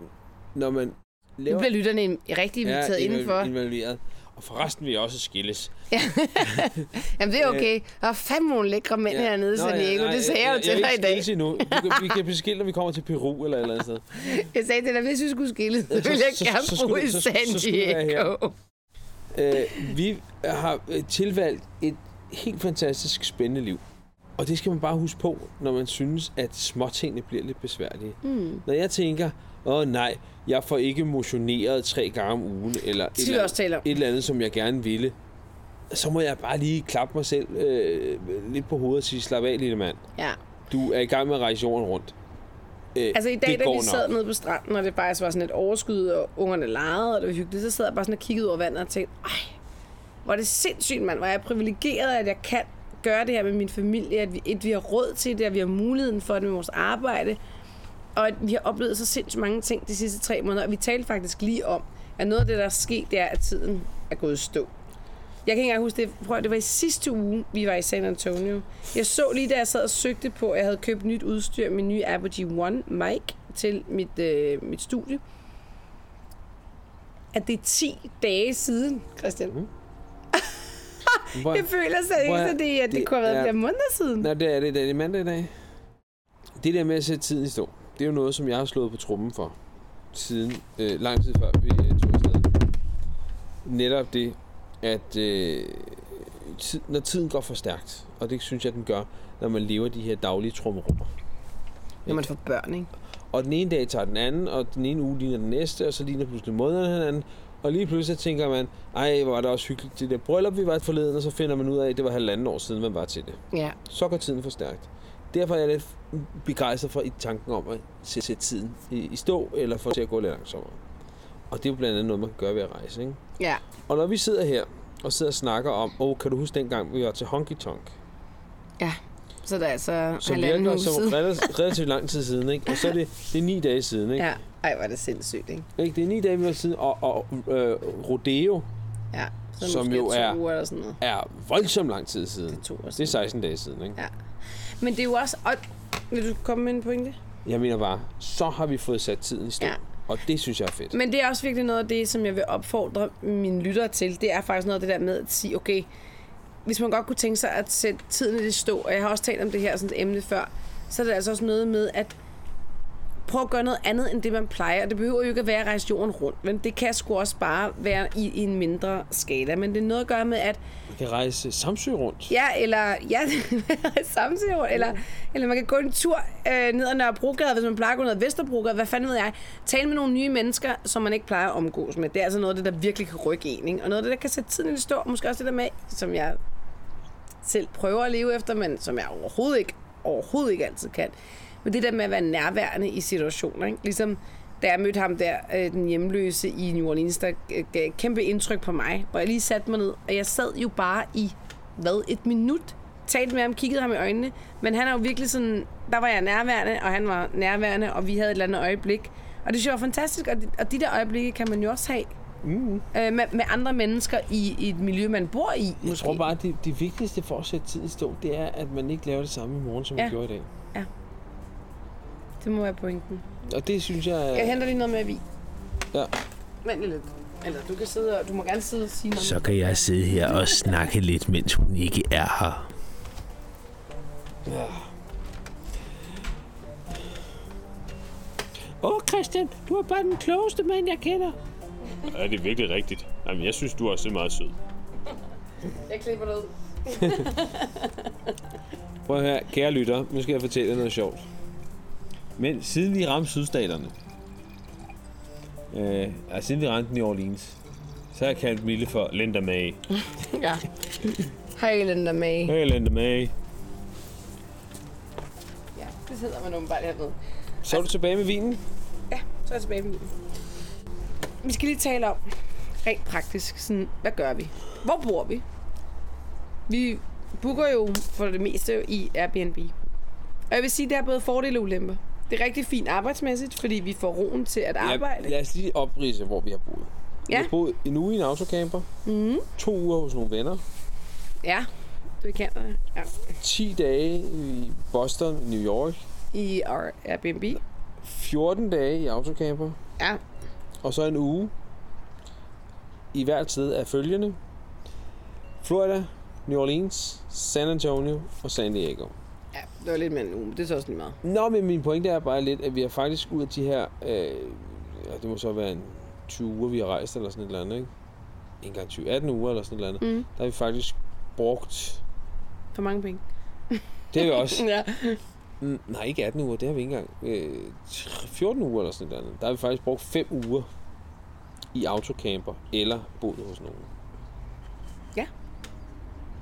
når man Nu laver... bliver lytterne en- rigtig inviteret ja, involv- indenfor. involveret. Og forresten vil jeg også skilles. Jamen, det er okay. Der er fandme nogle lækre mænd ja. hernede i Nå, San ja, Diego. nej, det sagde jeg jo til dig i Jeg vil dag. ikke skilles endnu. Vi kan, vi kan blive skilt, når vi kommer til Peru eller et eller andet sted. Jeg sagde til dig, hvis vi skulle skille, så ville jeg så- gerne så bo skulle i det- så- San så skulle det være her. Diego. Øh, vi har øh, tilvalgt et helt fantastisk spændende liv. Og det skal man bare huske på, når man synes, at småtingene bliver lidt besværlige. Hmm. Mm. Når jeg tænker, åh nej, jeg får ikke motioneret tre gange om ugen, eller et vi eller, også tale om. andet, et eller andet, som jeg gerne ville, så må jeg bare lige klappe mig selv øh, lidt på hovedet og sige, slap af, lille mand. Ja. Du er i gang med at rejse jorden rundt. Øh, Altså i dag, det da går vi nok. sad nede på stranden, og det faktisk var sådan et overskud, og ungerne legede, og det var hyggeligt, så sad jeg bare sådan og kiggede over vandet og tænkte, ej, hvor er det sindssygt, mand, hvor er jeg privilegeret, at jeg kan gøre det her med min familie, at vi, at vi har råd til det, at vi har muligheden for det med vores arbejde, og at vi har oplevet så sindssygt mange ting de sidste tre måneder, og vi talte faktisk lige om, at noget af det, der er sket, det er, at tiden er gået i stå. Jeg kan ikke engang huske det. Prøv, at- det var i sidste uge, vi var i San Antonio. Jeg så lige, da jeg sad og søgte på, at jeg havde købt nyt udstyr, min nye Apple G1 mic til mit, øh, mit studie. At det er 10 dage siden, Christian. Mm. Hvor- Jeg føler slet ikke, Hvor- at det, at det, det kunne have været er- flere måneder siden. Nå, det er det. Det er det mandag i dag. Det der med at sætte tiden i stå, det er jo noget, som jeg har slået på trummen for siden øh, lang tid før vi øh, tog afsted. netop det, at øh, tid, når tiden går for stærkt, og det synes jeg, den gør, når man lever de her daglige trummerummer. Når man får børn, ikke? Og den ene dag tager den anden, og den ene uge ligner den næste, og så ligner pludselig månederne hinanden. Og lige pludselig så tænker man, ej, hvor var det også hyggeligt, det der bryllup, vi var til forleden, og så finder man ud af, at det var halvanden år siden, man var til det. Ja. Så går tiden for stærkt. Derfor er jeg lidt begejstret for i tanken om at sætte sætte tiden i i stå, eller få det til at gå lidt langsommere. Og det er jo blandt andet noget, man kan gøre ved at rejse, ikke? Ja. Og når vi sidder her og sidder og snakker om, åh, oh, kan du huske dengang, vi var til Honky Tonk? Ja. Så der er altså Som halvanden virker uge som siden. relativt, relativt lang tid siden, ikke? Og så er det, det er ni dage siden, ikke? Ja. Ej, hvor er det sindssygt, ikke? Ikke? Det er ni dage vi var siden, og, og øh, Rodeo Ja. Så Som måske jo to er- Uger eller sådan noget. er voldsomt lang tid siden. Det er to år Det er siden. 16 dage siden, ikke? Ja. Men det er jo også... Og, vil du komme med en pointe? Jeg mener bare, så har vi fået sat tiden i stå. Ja. Og det synes jeg er fedt. Men det er også virkelig noget af det, som jeg vil opfordre mine lyttere til. Det er faktisk noget af det der med at sige, okay, hvis man godt kunne tænke sig at sætte tiden i det stå, og jeg har også talt om det her sådan et emne før, så er det altså også noget med at prøve at gøre noget andet end det, man plejer. Og det behøver jo ikke at være at rejse jorden rundt, men det kan sgu også bare være i, i en mindre skala. Men det er noget at gøre med, at Man kan rejse Samsø rundt. Ja, eller ja, samtidig, eller, eller man kan gå en tur øh, ned ad Nørrebrogade, hvis man plejer at gå ned ad Vesterbrogade, hvad fanden ved jeg. Tale med nogle nye mennesker, som man ikke plejer at omgås med. Det er altså noget af det, der virkelig kan rykke en, ikke? Og noget af det, der kan sætte tiden i stå, måske også det der med, som jeg selv prøver at leve efter, men som jeg overhovedet ikke, overhovedet ikke altid kan. Men det der med at være nærværende i situationer, ikke? ligesom da jeg mødte ham der, øh, den hjemløse i New Orleans, der øh, gav et kæmpe indtryk på mig, hvor jeg lige satte mig ned, og jeg sad jo bare i, hvad, et minut, talte med ham, kiggede ham i øjnene, men han er jo virkelig sådan, der var jeg nærværende, og han var nærværende, og vi havde et eller andet øjeblik, og det synes jeg var fantastisk, og de, og de der øjeblikke kan man jo også have Mm. øh, med, med andre mennesker i, i et miljø, man bor i. Jeg måske. tror bare, at det, det vigtigste for at sætte tiden i stå, det er, at man ikke laver det samme i morgen, som ja. Ja. man gjorde i dag. Det må være pointen. Og det synes jeg... Jeg henter lige noget mere vin. Ja. Vent lige lidt. Eller du kan sidde og, du må gerne sidde og sige noget. Så kan jeg sidde her og snakke lidt, mens hun ikke er her. Åh, oh, Christian, du er bare den klogeste mand, jeg kender. Er det virkelig rigtigt? Jamen, jeg synes, du er også er meget sød. Jeg klipper det ud. Prøv at høre, kære lytter, nu skal jeg fortælle jer noget sjovt. Men siden vi ramte sydstaterne, øh, altså siden vi ramte New Orleans, så har jeg kaldt Mille for Linda May. Ja. Hej, Linda May. Hey Linda May. Ja, det sidder man åbenbart hernede. Så er du tilbage med vinen? Ja, så er jeg tilbage med bilen. Vi skal lige tale om, rent praktisk, sådan, hvad gør vi? Hvor bor vi? Vi booker jo for det meste i Airbnb. Og jeg vil sige, at det er både fordele og ulemper. Det er rigtig fint arbejdsmæssigt, fordi vi får roen til at arbejde. Ja, lad os lige oprise, hvor vi har boet. Vi Ja. har boet en uge i en autocamper, Mhm. to uger hos nogle venner, Ja, du er i Canada. Ja. 10 dage i Boston, New York, I our Airbnb. 14 dage i autocamper, Ja. og så en uge i hvert sted af følgende. Florida, New Orleans, San Antonio og San Diego. ja, det var lidt mere end en uge, men det er så også lige meget. Nå, men min pointe er bare lidt, at vi har faktisk ud af de her... Øh, ja, det må så være en 20 uger, vi har rejst, eller sådan et eller andet, ikke? En gang 20, 18 uger, eller sådan et eller andet. Mm. Der har vi faktisk brugt... For mange penge. Det har vi også... Ja. Mm, nej, ikke 18 uger, det har vi ikke engang. Øh, tr- 14 uger, eller sådan et eller andet. Der har vi faktisk brugt 5 uger i autocamper, eller boet hos nogen.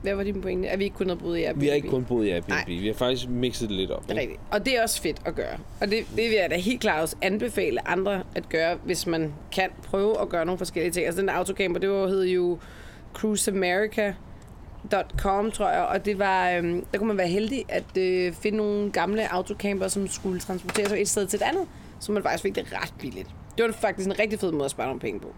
Hvad var din pointe? At vi ikke kun havde boet i Airbnb? Vi har ikke kun boet i Airbnb, Nej. vi har faktisk mixet det lidt op. Det er rigtigt. Og det er også fedt at gøre. Og det, det vil jeg da helt klart også anbefale andre at gøre, hvis man kan prøve at gøre nogle forskellige ting. Altså den der autocamper, det var, hed jo cruiseamerica.com, tror jeg, og det var, øhm, der kunne man være heldig at øh, finde nogle gamle autocamper, som skulle transporteres fra et sted til et andet, så man faktisk fik det ret billigt. Det var faktisk en rigtig fed måde at spare nogle penge på.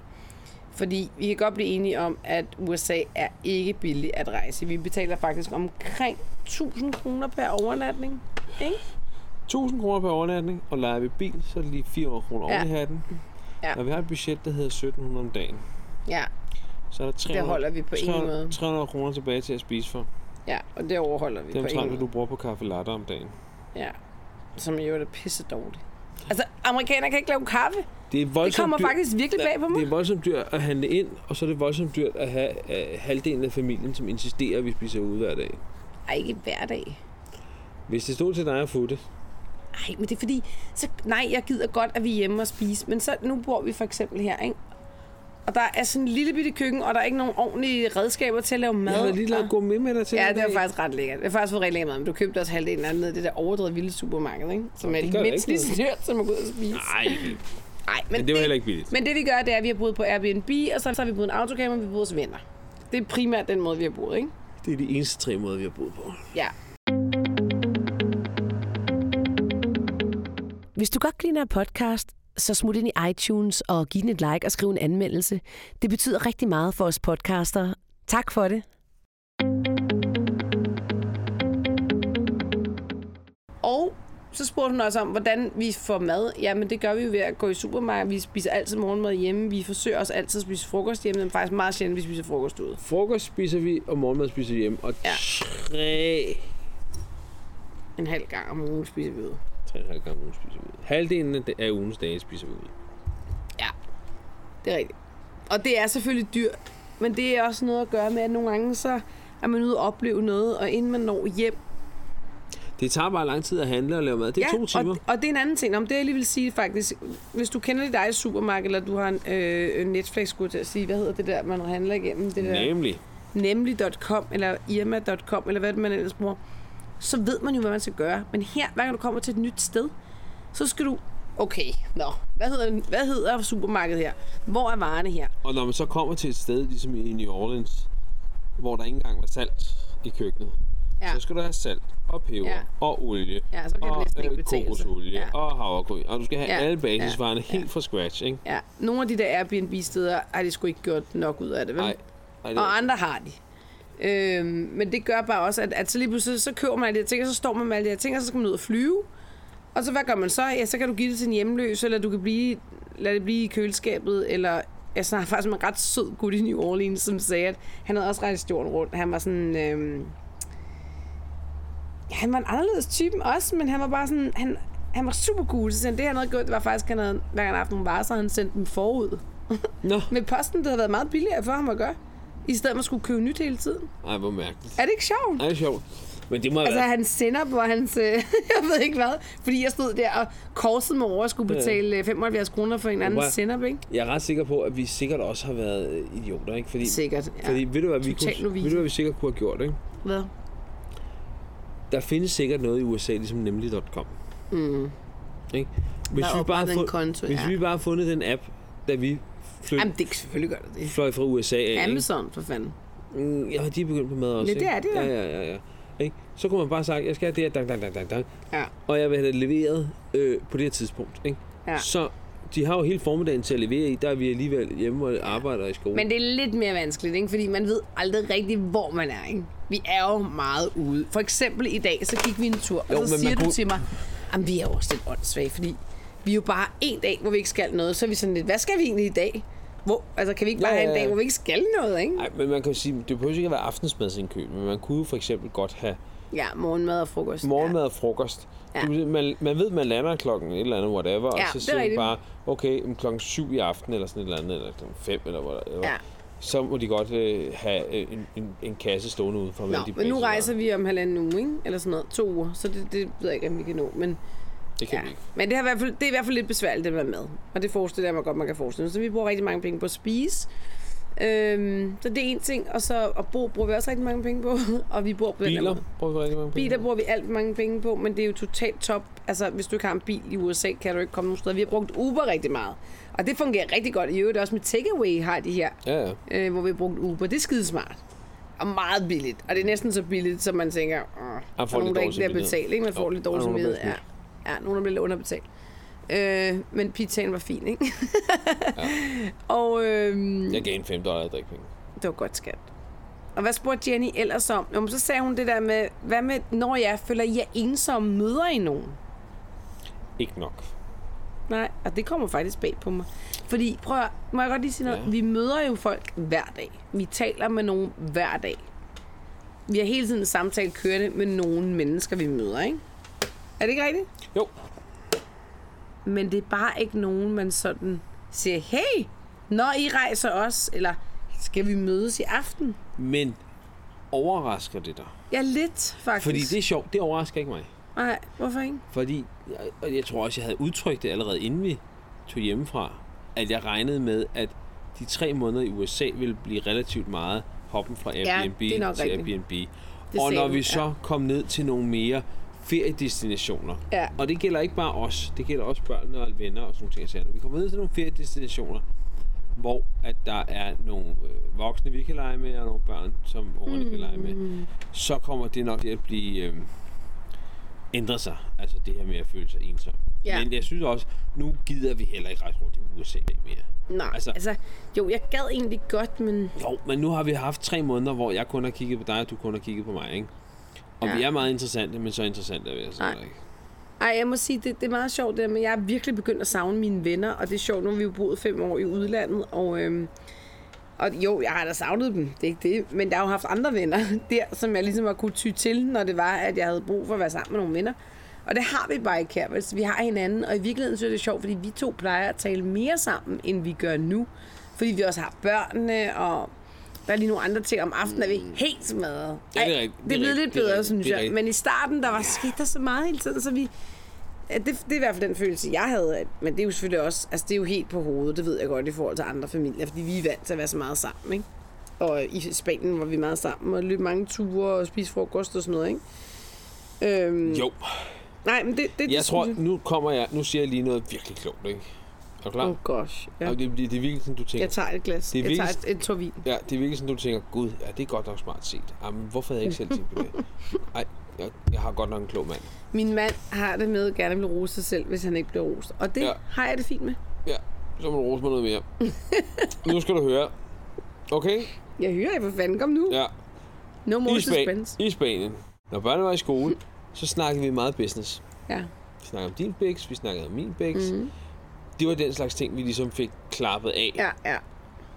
Fordi vi kan godt blive enige om, at USA er ikke billigt at rejse. Vi betaler faktisk omkring 1000 kroner per overnatning. Ikke? 1000 kroner per overnatning, og leger vi bil, så er det lige 400 kroner Ja. ja. oven i hatten. Ja. Når vi har et budget, der hedder 1700 om dagen, Ja, så er der 300, det holder vi på en 300, måde. 300 kroner tilbage til at spise for. Ja, og det overholder vi Det er på en omtrent, hvad måde. du bruger på kaffe latte om dagen. Ja, som jo er det pisse dårligt. Altså, amerikanere kan ikke lave kaffe. Det er Det voldsomt kommer dyrt. faktisk virkelig bag på Det mig. er voldsomt dyrt at handle ind, og så er det voldsomt dyrt at have uh, halvdelen af familien, som insisterer, at vi spiser ude hver dag. Ej, ikke hver dag. Hvis det stod til dig at få det, Ej, men det er fordi, så, nej, jeg gider godt, at vi er hjemme og spise, men så, nu bor vi for eksempel her, ikke? Og der er sådan en lille bitte køkken, og der er ikke nogen ordentlige redskaber til at lave mad. jeg havde lige lavet gå med med dig til Ja, i det var dag. faktisk ret lækkert. Det har faktisk fået rigtig lækkert mad, men du købte også halvdelen af den ned i det der overdrevet vilde supermarked, ikke? Som er det det, gør det mindst ikke lige så dyrt, som at gå ud og spise. Nej, ikke. Nej, men det var heller ikke billigt. Men det vi gør, det er, at vi har boet på Airbnb, og så, så har vi boet i en autocamper, og vi har boet hos venner. Det er primært den måde, vi har boet, ikke? Det er de eneste tre måder, vi har boet på. Ja. Hvis du godt kan lide den her podcast, så smut ind i iTunes og giv den et like og skriv en anmeldelse. Det betyder rigtig meget for os podcaster. Tak for det. Og så spurgte hun også om, hvordan vi får mad. Jamen, det gør vi jo ved at gå i supermarkedet. Vi spiser altid morgenmad hjemme. Vi forsøger også altid at spise frokost hjemme. Det er faktisk meget sjældent, at vi spiser frokost ude. Frokost spiser vi, og morgenmad spiser vi hjemme. Og Ja. tre... En halv gang om ugen spiser vi ude. Tre og en halv gange ugen spiser vi ude. Halvdelen af- af ugens dage spiser vi ude. Ja, det er rigtigt. Og det er selvfølgelig dyrt, men det er også noget at gøre med, at nogle gange så er man ude og opleve noget, og inden man når hjem... Det tager bare lang tid at handle og lave mad. Det er to timer. Og, og det er en anden ting. Om det jeg lige vil sige faktisk, hvis du kender dit eget supermarked, eller du har en øh, Netflix, skulle jeg til at sige, hvad hedder det der, man handler igennem? Det der? Nemlig. nemlig.com eller irma.com eller hvad det man ellers bruger, så ved man jo, hvad man skal gøre. Men her, hver gang du kommer til et nyt sted, så skal du... Okay, nå. Hvad hedder, hvad hedder supermarkedet her? Hvor er varerne her? Og når man så kommer til et sted, ligesom i New Orleans, hvor der ikke engang var salt i køkkenet, Ja. ja. så skal du have salt og peber Ja. ja. og olie Ja, så kan det og næsten ikke øh, betale sig. kokosolie Ja. og havregryn. Og du skal have Ja. ja. alle basisvarerne Ja. ja. helt fra scratch, ikke? Ja, nogle af de der Airbnb-steder har de sgu ikke gjort nok ud af det, vel? Nej. Nej, det Og andre har de. Øhm, men det gør bare også, at, at så lige pludselig, så køber man alle de her ting, og så står man med alle de her ting, og så skal man ud og flyve. Og så hvad gør man så? Ja, så kan du give det til en hjemløs, eller du kan blive, lade det blive i køleskabet, eller jeg snakker faktisk med en ret sød gut i New Orleans, som sagde, at han havde også rejst jorden rundt. Han var sådan... Øhm, ja, han var en anderledes type også, men han var bare sådan... Han, han var super cool, så sagde han, det han havde gjort, det var faktisk, at han havde, hver gang han havde haft nogle varer, så havde han sendt dem forud. Nå, Med posten, det havde været meget billigere for ham at gøre. I stedet for at skulle købe nyt hele tiden. Ej, hvor mærkeligt. Er det ikke sjovt? Ej, det er sjovt. Men det må altså, Altså være... hans sennep og hans... Øh, jeg ved ikke hvad. Fordi jeg stod der og korsede mig over og skulle betale øh, 75 kroner for en anden Hvor- sennep, ikke? Jeg er ret sikker på, at vi sikkert også har været øh, idioter, ikke? Fordi, Sikkert, ja. Fordi ved du, hvad vi, Totalt kunne, novice. ved du, hvad vi sikkert kunne have gjort, ikke? Hvad? Der findes sikkert noget i USA, ligesom nemlig.com. Mm. Ikke? Hvis, Der er vi bare, oprettet en fund, konto, hvis ja. vi bare har fundet den app, da vi flyt, Jamen, det selvfølgelig gør det det. fløj fra USA af, ikke? Amazon, for fanden. Mm, ja, de er begyndt på mad også, Ja, det er ikke? de da. Ja, ja, ja. ja. Ikke? Så kunne man bare sagt, jeg skal have det her, dang, dang, dang, dang, dang. Ja. og jeg vil have det leveret øh, på det her tidspunkt. Ikke? Ja. Så de har jo hele formiddagen til at levere i, der er vi alligevel hjemme og arbejder i skole. Men det er lidt mere vanskeligt, ikke? fordi man ved aldrig rigtigt, hvor man er. Ikke? Vi er jo meget ude. For eksempel i dag, så gik vi en tur, Jo, og så men siger man du kunne- til mig, at vi er jo også lidt åndssvage, fordi vi er jo bare en dag, hvor vi ikke skal noget. Så er vi sådan lidt, hvad skal vi egentlig i dag? Hvor, altså, kan vi ikke bare Ja, have en ja, dag, ja. hvor vi ikke skal noget, ikke? Nej, men man kan jo sige, det behøver ikke at være aftensmadsindkøb, men man kunne jo for eksempel godt have Ja, morgenmad og frokost. morgenmad og frokost. Ja. Ja. Du, man, man ved, man lander klokken et eller andet, whatever, Ja, og så det er siger man rigtigt. bare, okay, om klokken syv i aften, eller sådan et eller andet, eller klokken fem, eller whatever. Ja. Ja. Så må de godt øh, have øh, en, en, en kasse stående ude for Ja. de Nå, men nu basevarer. rejser vi om halvanden uge, ikke? eller sådan noget, to uger, så det, det ved jeg ikke, om vi kan nå. Men, Det kan ja. vi ikke. men det, har i hvert fald, det er i hvert fald lidt besværligt, det med mad. Og det forestiller jeg mig godt, man kan forestille sig. Så vi bruger rigtig mange penge på at spise. Øhm, så det er en ting, og så at bo bruger vi også rigtig mange penge på, og vi bor på den her Biler måde. bruger vi rigtig mange penge Biler på. bruger vi alt for mange penge på, men det er jo totalt top. Altså, hvis du ikke har en bil i USA, kan du ikke komme nogen steder. Vi har brugt Uber rigtig meget, og det fungerer rigtig godt. I øvrigt også med takeaway har de her Ja, ja. øh, hvor vi har brugt Uber. Det er skidesmart. Og meget billigt. Og det er næsten så billigt, som man tænker, åh, der er får nogen, lidt der dårlig ikke bliver samvittighed. betalt. Ikke? Man får Jo, lidt dårlig der er nogen, der samvittighed. bliver Ja. ja, nogen der bliver lidt underbetalt. Øh, men pizzaen var fin, ikke? ja. Og øh, Jeg gav en 5 dollar i drikpenge. det var godt skat. Og hvad spurgte Jenny ellers om? Jamen, så sagde hun det der med, hvad med, når jeg føler, I er ensomme, møder I nogen? Ikke nok. Nej, og det kommer faktisk bag på mig. Fordi, prøv at, må jeg godt lige sige noget? Ja. Ja. Vi møder jo folk hver dag. Vi taler med nogen hver dag. Vi har hele tiden en samtale kørende med nogle mennesker, vi møder, ikke? Er det ikke rigtigt? Jo, men det er bare ikke nogen, man sådan siger, hey, når I rejser os, eller skal vi mødes i aften? Men overrasker det dig? Ja, lidt faktisk. Fordi det er sjovt, det overrasker ikke mig. Nej, hvorfor ikke? Fordi, jeg, og jeg tror også, jeg havde udtrykt det allerede inden vi tog hjemmefra, at jeg regnede med, at de tre måneder i USA ville blive relativt meget hoppen fra Ja, Airbnb det er nok til rigtigt. Airbnb. Det og sagde når du, vi ja. så kom ned til nogle mere feriedestinationer, Ja. og det gælder ikke bare os, det gælder også børnene og venner og sådan nogle ting. og sager. Når vi kommer ned til nogle feriedestinationer, hvor at der er nogle øh, voksne, vi kan lege med, og nogle børn, som ungerne mm. kan lege med, så kommer det nok til at blive... Øh, ændre sig. Altså det her med at føle sig ensom. Ja. Ja. Men jeg synes også, nu gider vi heller ikke rejse rundt i USA mere. Nej, altså, Altså- altså, jo, jeg gad egentlig godt, men Jo, men nu har vi haft tre måneder, hvor jeg kun har kigget på dig, og du kun har kigget på mig, ikke? Og Ja. ja. vi er meget interessante, men så interessante er vi altså Nej. heller ikke. Ej, jeg må sige, det, det er meget sjovt det der, men jeg er virkelig begyndt at savne mine venner, og det er sjovt, nu har vi jo boet fem år i udlandet, og, øhm, og jo, jeg har da savnet dem, det er ikke det, men jeg har jo haft andre venner der, som jeg ligesom har kunne ty til, når det var, at jeg havde brug for at være sammen med nogle venner. Og det har vi bare ikke her, vel? Så vi har hinanden, og i virkeligheden synes jeg, det er sjovt, fordi vi to plejer at tale mere sammen, end vi gør nu, fordi vi også har børnene, og der er lige nogle andre ting om aftenen, er vi helt smadret. Ja, det Ej, er rigtigt. det Det er er blevet lidt rigtigt. Det er bedre, rigtigt. synes Det er jeg, rigtigt. men i starten, der var sket der så meget hele tiden, så vi, Ja, det, det er i hvert fald den følelse, jeg havde. at- Men det er jo selvfølgelig også, altså det er jo helt på hovedet, det ved jeg godt i forhold til andre familier, fordi vi er vant til at være så meget sammen, ikke? Og i Spanien var vi meget sammen og løb mange ture og spiste frokost og sådan noget, ikke? Øhm, Jo, Nej, men det, det, det jeg tror, synes nu kommer jeg, nu siger jeg lige noget virkelig klogt, ikke? Er du klar? jeg- Oh gosh, ja. Og det, det, det er virkelig sådan, du tænker. Jeg tager et glas. Det er Jeg tager vist- et, et tår vin. Ja, det er virkelig sådan, du tænker, gud, ja, det er godt nok smart set. Jamen, hvorfor havde jeg ikke selv tænkt på det? Ej, jeg, jeg har godt nok en klog mand. Min mand har det med at gerne vil rose sig selv, hvis han ikke bliver rost. Og det ja. Ja. har jeg det fint med. Ja, så må du rose mig noget mere. nu skal du høre. Okay? Jeg hører jer, for fanden, kom nu. Ja. Ja, No more I, Span- suspense. I Spanien. Når børnene var i skole, så snakkede vi meget business. Ja. Vi snakkede om din bæks, vi snakkede om min bæks. Mm-hmm. Det var den slags ting, vi ligesom fik klappet af ja. Mhm. Ja, ja.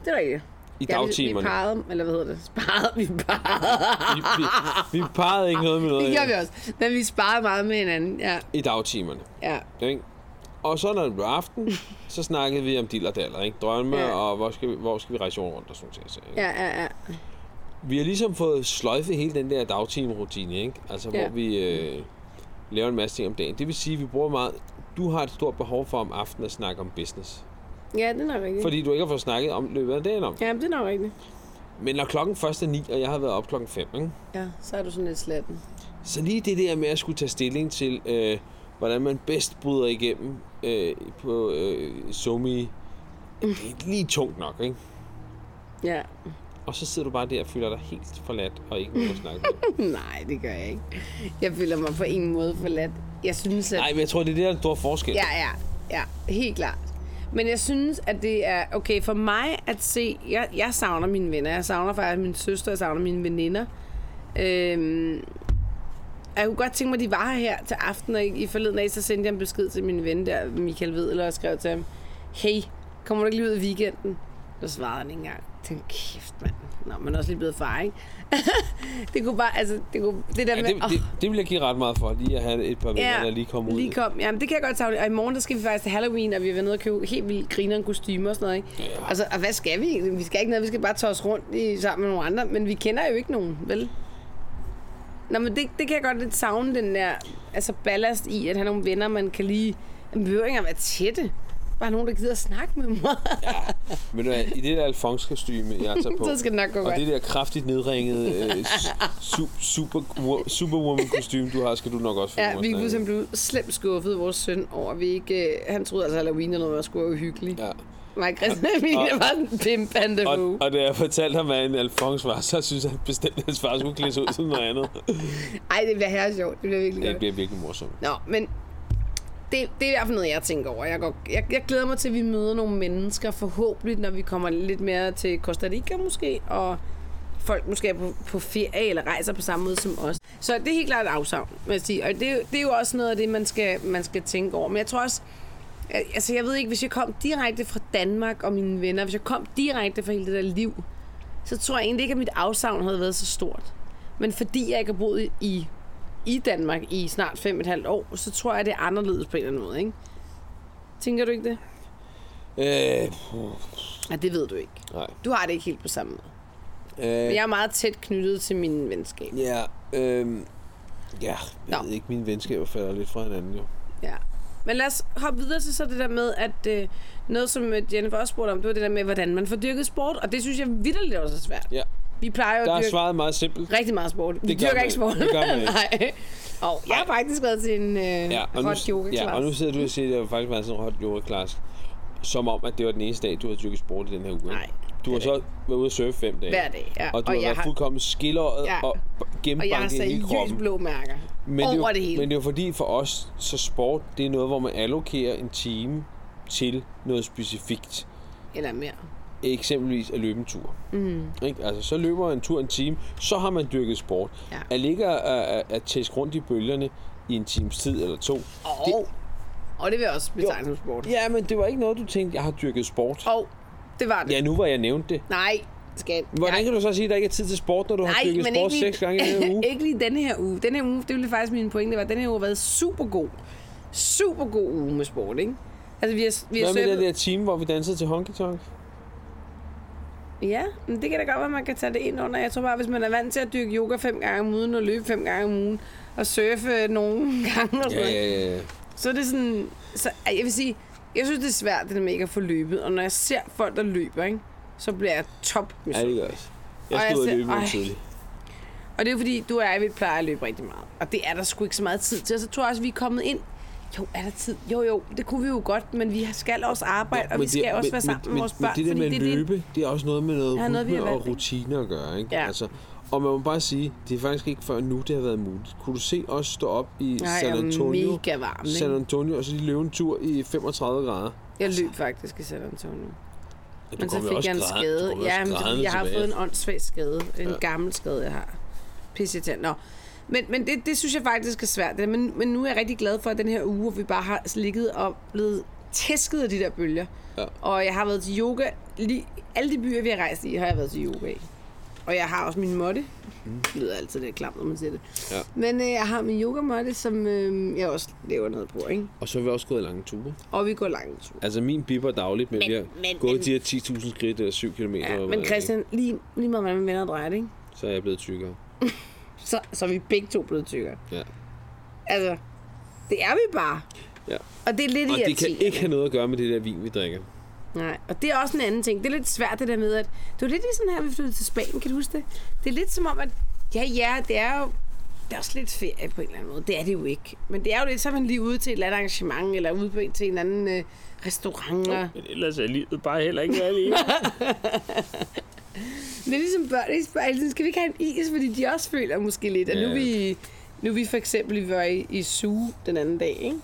Det er rigtigt. i Ja, vi- dagtimerne. Vi parrede, eller hvad hedder det? Sparede, vi parrede. vi, vi, vi parrede ikke noget med noget Det andet gjorde vi også. Men vi sparede meget med hinanden. Ja, i dagtimerne. ja. Ikke? Og så når det blev aften, så snakkede vi om dill og daller, ikke? Drømme, Ja. ja. og hvor skal, vi, hvor skal vi rejse jorden rundt og sådan noget. Ikke? Ja, ja, ja. Vi har ligesom fået sløjfet hele den der dagtimerutine, ikke? Altså, Ja. ja. hvor vi øh, laver en masse ting om dagen. Det vil sige, at vi bruger meget... Du har et stort behov for om aftenen at snakke om business. Ja, det er nok rigtigt. Fordi du ikke har fået snakket om løbet af dagen om. Ja, men det er nok rigtigt. Men når klokken først er 9, og jeg har været op klokken 5, ikke? Ja, så er du sådan lidt slatten. så lige det der med at skulle tage stilling til, øh, hvordan man bedst bryder igennem øh, på øh, Zomi, det er lige tungt nok, ikke? Ja. Og så sidder du bare der og føler dig helt forladt, og ikke noget at snakke med. Nej, det gør jeg ikke. Jeg føler mig på ingen måde forladt. Jeg synes, at... Nej, men jeg tror, det er det, der er den store forskel. Ja, ja, ja. Helt klart. Men jeg synes, at det er okay for mig at se... Jeg, jeg savner mine venner. Jeg savner faktisk min søster. Jeg savner mine veninder. Øhm, jeg kunne godt tænke mig, at de var her, her til aften, og i forleden af, så sendte jeg en besked til min ven der, Michael Vedler, og skrev til ham, hey, kommer du ikke lige ud i weekenden? Så svarede han ikke engang. Jeg tænkte, kæft mand. Nå, man er også lige blevet far, ikke? det kunne bare, altså, det kunne, det der Ja, med, det, det, det vil jeg give ret meget for, lige at have et par venner, der lige kommer ud. Lige kom. Jamen, det kan jeg godt savne. Og i morgen, der skal vi faktisk til Halloween, og vi har været nede og købe helt vildt grineren kostymer og sådan noget, ikke? Ja. Altså, og hvad skal vi egentlig? Vi skal ikke noget, vi skal bare tage os rundt i, sammen med nogle andre, men vi kender jo ikke nogen, vel? Nå, men det, det kan jeg godt lidt savne, den der altså ballast i, at have nogle venner, man kan lige... Man behøver ikke at være tætte. Bare nogen, der gider at snakke med mig. Men i det der alfons kostume jeg tager på, Så skal det nok gå og godt. det der kraftigt nedringede øh, su- super, superwoman kostume du har, skal du nok også finde Ja, ud af vi at kunne snakke om. simpelthen blive slemt skuffet vores søn over, at vi ikke... øh, Han troede altså, at Halloween eller noget var skulle være uhyggeligt. Ja. Ja. Mig Christian og Emilie var en pimpande Og, og da jeg fortalte ham, hvad en alfons var, så synes han bestemt, at hans far skulle klæde sig ud som noget andet. Ej, det bliver her sjovt. Det bliver virkelig Det godt. bliver virkelig morsomt. Nå, men det, det er i hvert fald noget, jeg tænker over. Jeg, går, jeg, jeg glæder mig til, at vi møder nogle mennesker, forhåbentlig, når vi kommer lidt mere til Costa Rica måske, og folk måske er på, på ferie eller rejser på samme måde som os. Så det er helt klart et afsavn, vil jeg sige. Og det, er jo- det er jo også noget af det, man skal, man skal tænke over. Men jeg tror også, altså jeg ved ikke, hvis jeg kom direkte fra Danmark og mine venner, hvis jeg kom direkte fra hele det der liv, så tror jeg egentlig ikke, at mit afsavn havde været så stort. Men fordi jeg ikke har boet i, i Danmark i snart fem et halvt år, så tror jeg, at det er anderledes på en eller anden måde, ikke? Tænker du ikke det? Øh, puh, Nej, det ved du ikke. nej. Du har det ikke helt på samme måde. Øh, Men jeg er meget tæt knyttet til min venskab. Ja, øhm, ja, jeg Nå. ved ikke, mine venskaber falder lidt fra hinanden jo. Ja. Men lad os hoppe videre til så det der med, at øh, noget som øh, Jennifer også spurgte om, det var det der med, hvordan man får dyrket sport, og det synes jeg vidderligt også er svært. Ja, Vi plejer jo der at er dyrke svaret meget simpelt. rigtig meget sport. Vi Det gør dyrker man ikke sport. ikke. Det gør man ikke. Nej. Og jeg har faktisk været til en øh, ja, og nu, hot yoga ja, og nu sidder du og siger, at det har faktisk været sådan en hot yoga class. Som om, at det var den eneste dag, du har dyrket sport i den her uge. ikke? Nej, Du har så været ude at surfe fem dage. Hver dag, ja. Og Og du har jeg været har- fuldkommen skilleret Ja. og og jeg har gennembanket i hele seriøst kroppen. blå mærker Men over det, er jo- det hele. Men det er jo fordi for os, så sport, det er noget, hvor man allokerer en time til noget specifikt. Eller mere. Eksempelvis at løbe en tur. Mm. Ikke? Altså, så løber en tur en time, så har man dyrket sport. Ja. At ligge og, at, at tæske rundt i bølgerne i en times tid eller to. Og det, og det vil jeg også betegne som sport. Ja, men det var ikke noget, du tænkte, jeg har dyrket sport. Og det var det. Ja, nu var jeg nævnt det. Nej, skat. Hvordan jeg, kan du så sige, at der ikke er tid til sport, når du har dyrket sport seks gange i den her uge? ikke lige denne her uge. Den her uge, det ville faktisk min pointe, var, at den her uge har været super god. Super god uge med sport, ikke? Altså, vi har, vi har Hvad med surfet... den der time, hvor vi dansede til honky tonk? Ja, men det kan da godt være, at man kan tage det ind under. Jeg tror bare, hvis man er vant til at dyrke yoga fem gange om ugen, og løbe fem gange om ugen, og surfe nogle gange og sådan noget, ja, ja. så er det sådan... Så, ej, jeg vil sige, jeg synes, det er svært, det der med ikke at få løbet. Og når jeg ser folk, der løber, ikke? så bliver jeg top med Ja, det gør jeg. Jeg Og jeg stod og ser- løb Ej. ud tidligt. Og det er jo fordi, du og jeg, vi plejer at løbe rigtig meget. Og det er der sgu ikke så meget tid til. Og så tror jeg også, vi er kommet ind. Jo, er der tid? Jo, jo, det kunne vi jo godt, men vi skal også arbejde, og Men vi skal det- også men- være sammen men, med vores børn. Men det der fordi med at det- løbe, det er også noget med noget Ja, noget, vi har rytme og valgt, ikke? rutiner at gøre. Ikke? Ja. Altså, og man må bare sige, det er faktisk ikke før nu, det har været muligt. Kunne du se os stå op i Nej, jeg San er Antonio, mega varm, ikke? San Antonio og så lige løbe en tur i 35 grader? Jeg løb faktisk i San Antonio. Ja, du Men så kom jo fik også jeg en græd- du skade. kom jo også Ja, men det er fordi, grædende jeg har tilbage. fået en åndssvag skade. En Ja. ja. gammel skade, jeg har. Pissetand. Nå. Men, men det, det, synes jeg faktisk er svært. Det, men, men nu er jeg rigtig glad for, at den her uge, hvor vi bare har ligget og blevet tæsket af de der bølger. Ja. Og jeg har været til yoga. Lige, alle de byer, vi har rejst i, har jeg været til yoga i. Og jeg har også min måtte. Det lyder altid lidt klamt, når man siger det. Mhm. Ja. Men øh, jeg har min yogamåtte, som øh, jeg også laver noget på. Ikke? Og så har vi også gået lange ture. Og vi går langt tur. Altså min bipper dagligt, men, men vi har men, gået de her 10.000 skridt eller 7 km. Ja, men Christian, lige, lige meget, hvordan man vender og drejer det, ikke? Så er jeg blevet tykkere. så, så er vi begge to blevet tykkere. Ja. Altså, det er vi bare. Ja. Og det er lidt Og det kan irriterende. ikke have noget at gøre med det der vin, vi drikker. Nej, og det er også en anden ting. Det er lidt svært det der med, at det var lidt ligesom her, vi flyttede til Spanien, kan du huske det? Det er lidt som om, at ja, ja, det er jo det er også lidt ferie på en eller anden måde. Det er det jo ikke. Men det er jo lidt, så er man lige ude til et eller andet arrangement, eller ude på en, til en anden øh, restaurant. Og... Men ellers er livet bare heller ikke været lige. Det er ligesom børn i Spanien. Skal vi ikke have en is? Fordi de også føler måske lidt, at nu er Ja. vi, nu er vi for eksempel vi var i, i Zoo den anden dag, ikke?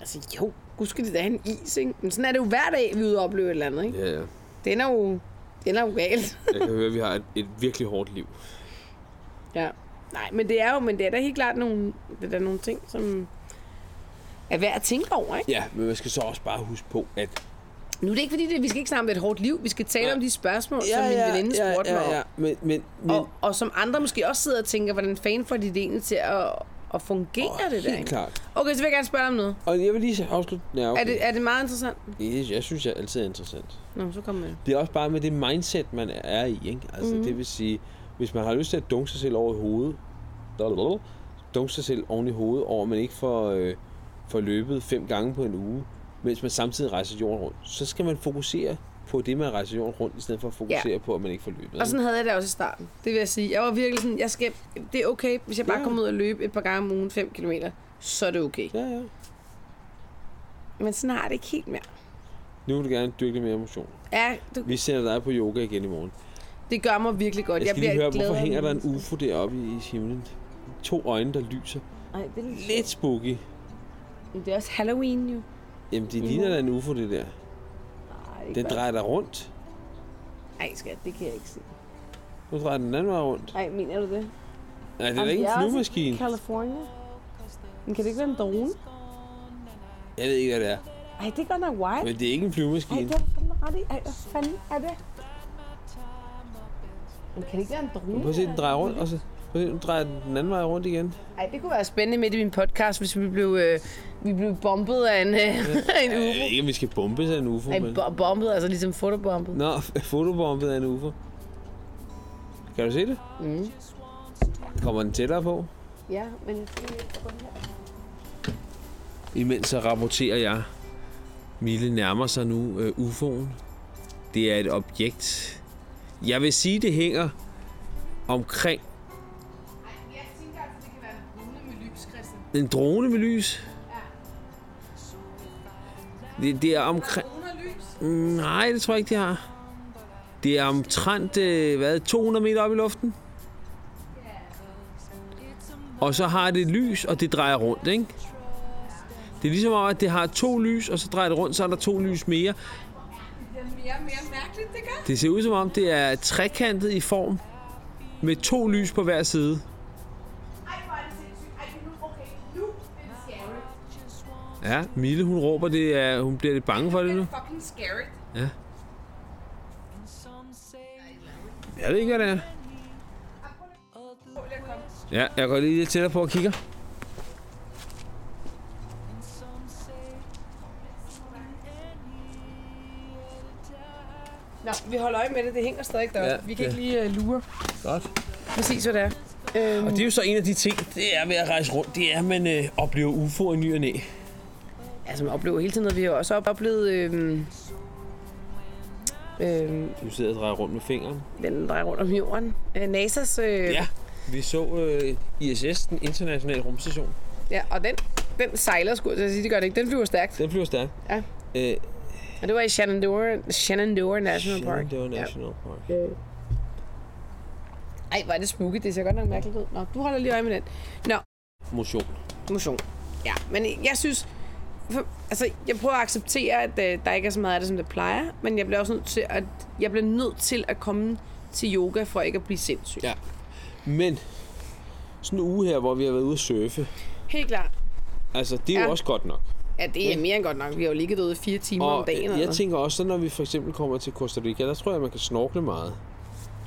Altså jo, gud skal de da have en is, ikke? Men sådan er det jo hver dag, vi er ude og opleve et eller andet, ikke? Ja, ja. Det ender jo, det ender jo galt. Jeg kan høre, at vi har et, et virkelig hårdt liv. ja. Nej, men det er jo, men det er da helt klart nogle, det er da nogle ting, som er værd at tænke over, ikke? Ja, men man skal så også bare huske på, at Nu er det ikke fordi, det, vi skal ikke snakke om et hårdt liv. Vi skal tale om de spørgsmål, som min veninde spurgte mig om. Men, men, men Og, og som andre måske også sidder og tænker, hvordan fanden får de det egentlig til at, at fungere Åh, oh, det der? helt ikke? klart. Okay, så vil jeg gerne spørge dig om noget. Og jeg vil lige afslutte. Ja, okay. Okay. Er, det, er det meget interessant? det... Jeg synes, jeg altid er interessant. Nå, så kom med det. Det er også bare med det mindset, man er i. Ikke? Altså, Mm. mm-hmm. Det vil sige, hvis man har lyst til at dunke sig selv over i hovedet, blablabla, dunke sig selv oven i hovedet over, at man ikke får, øh, får løbet fem gange på en uge, mens man samtidig rejser jorden rundt, så skal man fokusere på det, man rejser jorden rundt, i stedet for at fokusere ja. på, at man ikke får løbet. Og sådan havde jeg det også i starten. Det vil jeg sige. Jeg var virkelig sådan, jeg skal, det er okay, hvis jeg bare kommer ud og løbe et par gange om ugen 5 km, så er det okay. ikke? Ja, ja. Men sådan har jeg det ikke helt mere. Nu vil du gerne dyrke lidt mere motion. Ja, du, Vi sender dig på yoga igen i morgen. det gør mig virkelig godt. Jeg skal lige bliver høre, hvorfor gladere hænger nu. der en UFO deroppe i himlen? To øjne, der lyser. Ej, det, er lidt- Lidt spooky. Men det er også Halloween jo. Jamen, det ligner da en UFO, det der. Nej, det Den er ikke drejer dig rundt. godt. Ej, skat, det kan jeg ikke se. Nu drejer den anden vej rundt. Nej, mener du det? Nej, det er da ikke en flyvemaskine. California. Men kan det ikke være en drone? Jeg ved ikke, hvad det er. Ej, det er godt nok wild. Men det er ikke en Ej, flyvemaskine. det har du fandme ret i. Ej, hvad fanden er det? Men kan det ikke være en Prøv drone? at se, den drejer rundt. Og så... Prøv at se, Nu drejer den den anden vej rundt igen. Ej, det kunne være spændende midt i min podcast, hvis vi blev, øh, vi blev bombet af en, øh, en Jeg ved ufo. ikke, om vi skal bombe sig en ufo, Ej, men... bo- bombet, altså ligesom fotobombet. Nå, fotobombet af en ufo. Kan du se det? Mm. Kommer den tættere på? Ja, men jeg tror, jeg går her. Imens så rapporterer jeg. Mille nærmer sig nu øh, UFO'en. Det er et objekt. Jeg vil sige, det hænger omkring Jeg tænker, at det kan være en brune med lys, Christian. en drone med lys. Det, det er omkring... lys? Mm, Nej, det tror jeg ikke, de har. Det er omtrent øh, hvad, 200 meter op i luften. Og så har det et lys, og det drejer rundt, ikke? Det er ligesom om, at det har to lys, og så drejer det rundt, så er der to lys mere. Mere mere mærkeligt, det gør. Det ser ud som om, det er trekantet i form, med to lys på hver side. Ja, Mille, hun råber det, er, hun bliver lidt bange for det nu. Fucking scary. Jeg ved ikke, hvad det er. Ja, jeg går lige lidt tættere på og kigger. Nå, vi holder øje med det. Det hænger stadig deroppe. Ja, Ja, vi kan ja. ikke lige uh, lure Godt. præcis, hvad det er. Øhm, Og det er jo så en af de ting, det er ved at rejse rundt, det er, at man øh, oplever UFO i ny og næ. altså, man oplever hele tiden noget. Vi har også op- oplevet... Øhm, øhm, Du sidder og drejer rundt med fingeren. den drejer rundt om jorden. Øh, NASA's... Øh, Ja, vi så øh, ISS, den internationale rumstation. ja. og den, den sejler sgu. Jeg sige, det gør det ikke. Den flyver stærkt. Den flyver stærkt. Ja. Øh, Og det var i Shenandoah, Shenandoah National Park. Shenandoah Ja. National Park. Ej, hvor er det spooky. Det ser godt nok mærkeligt ud. Nå, du holder lige øje med den. Nå, Motion. motion. Ja, men jeg synes... For, altså, jeg prøver at acceptere, at øh, der ikke er så meget af det, som det plejer. Men jeg bliver også nødt til at, jeg bliver nødt til at komme til yoga, for ikke at blive sindssyg. Ja. Men sådan en uge her, hvor vi har været ude at surfe, Helt klart. altså det er ja. jo Ja. også godt nok. Ja, det er mere end godt nok. Vi har jo ligget ude fire timer om Og dagen. øh, eller jeg noget. tænker også, så når vi for eksempel kommer til Costa Rica, der tror jeg, man kan snorkle meget.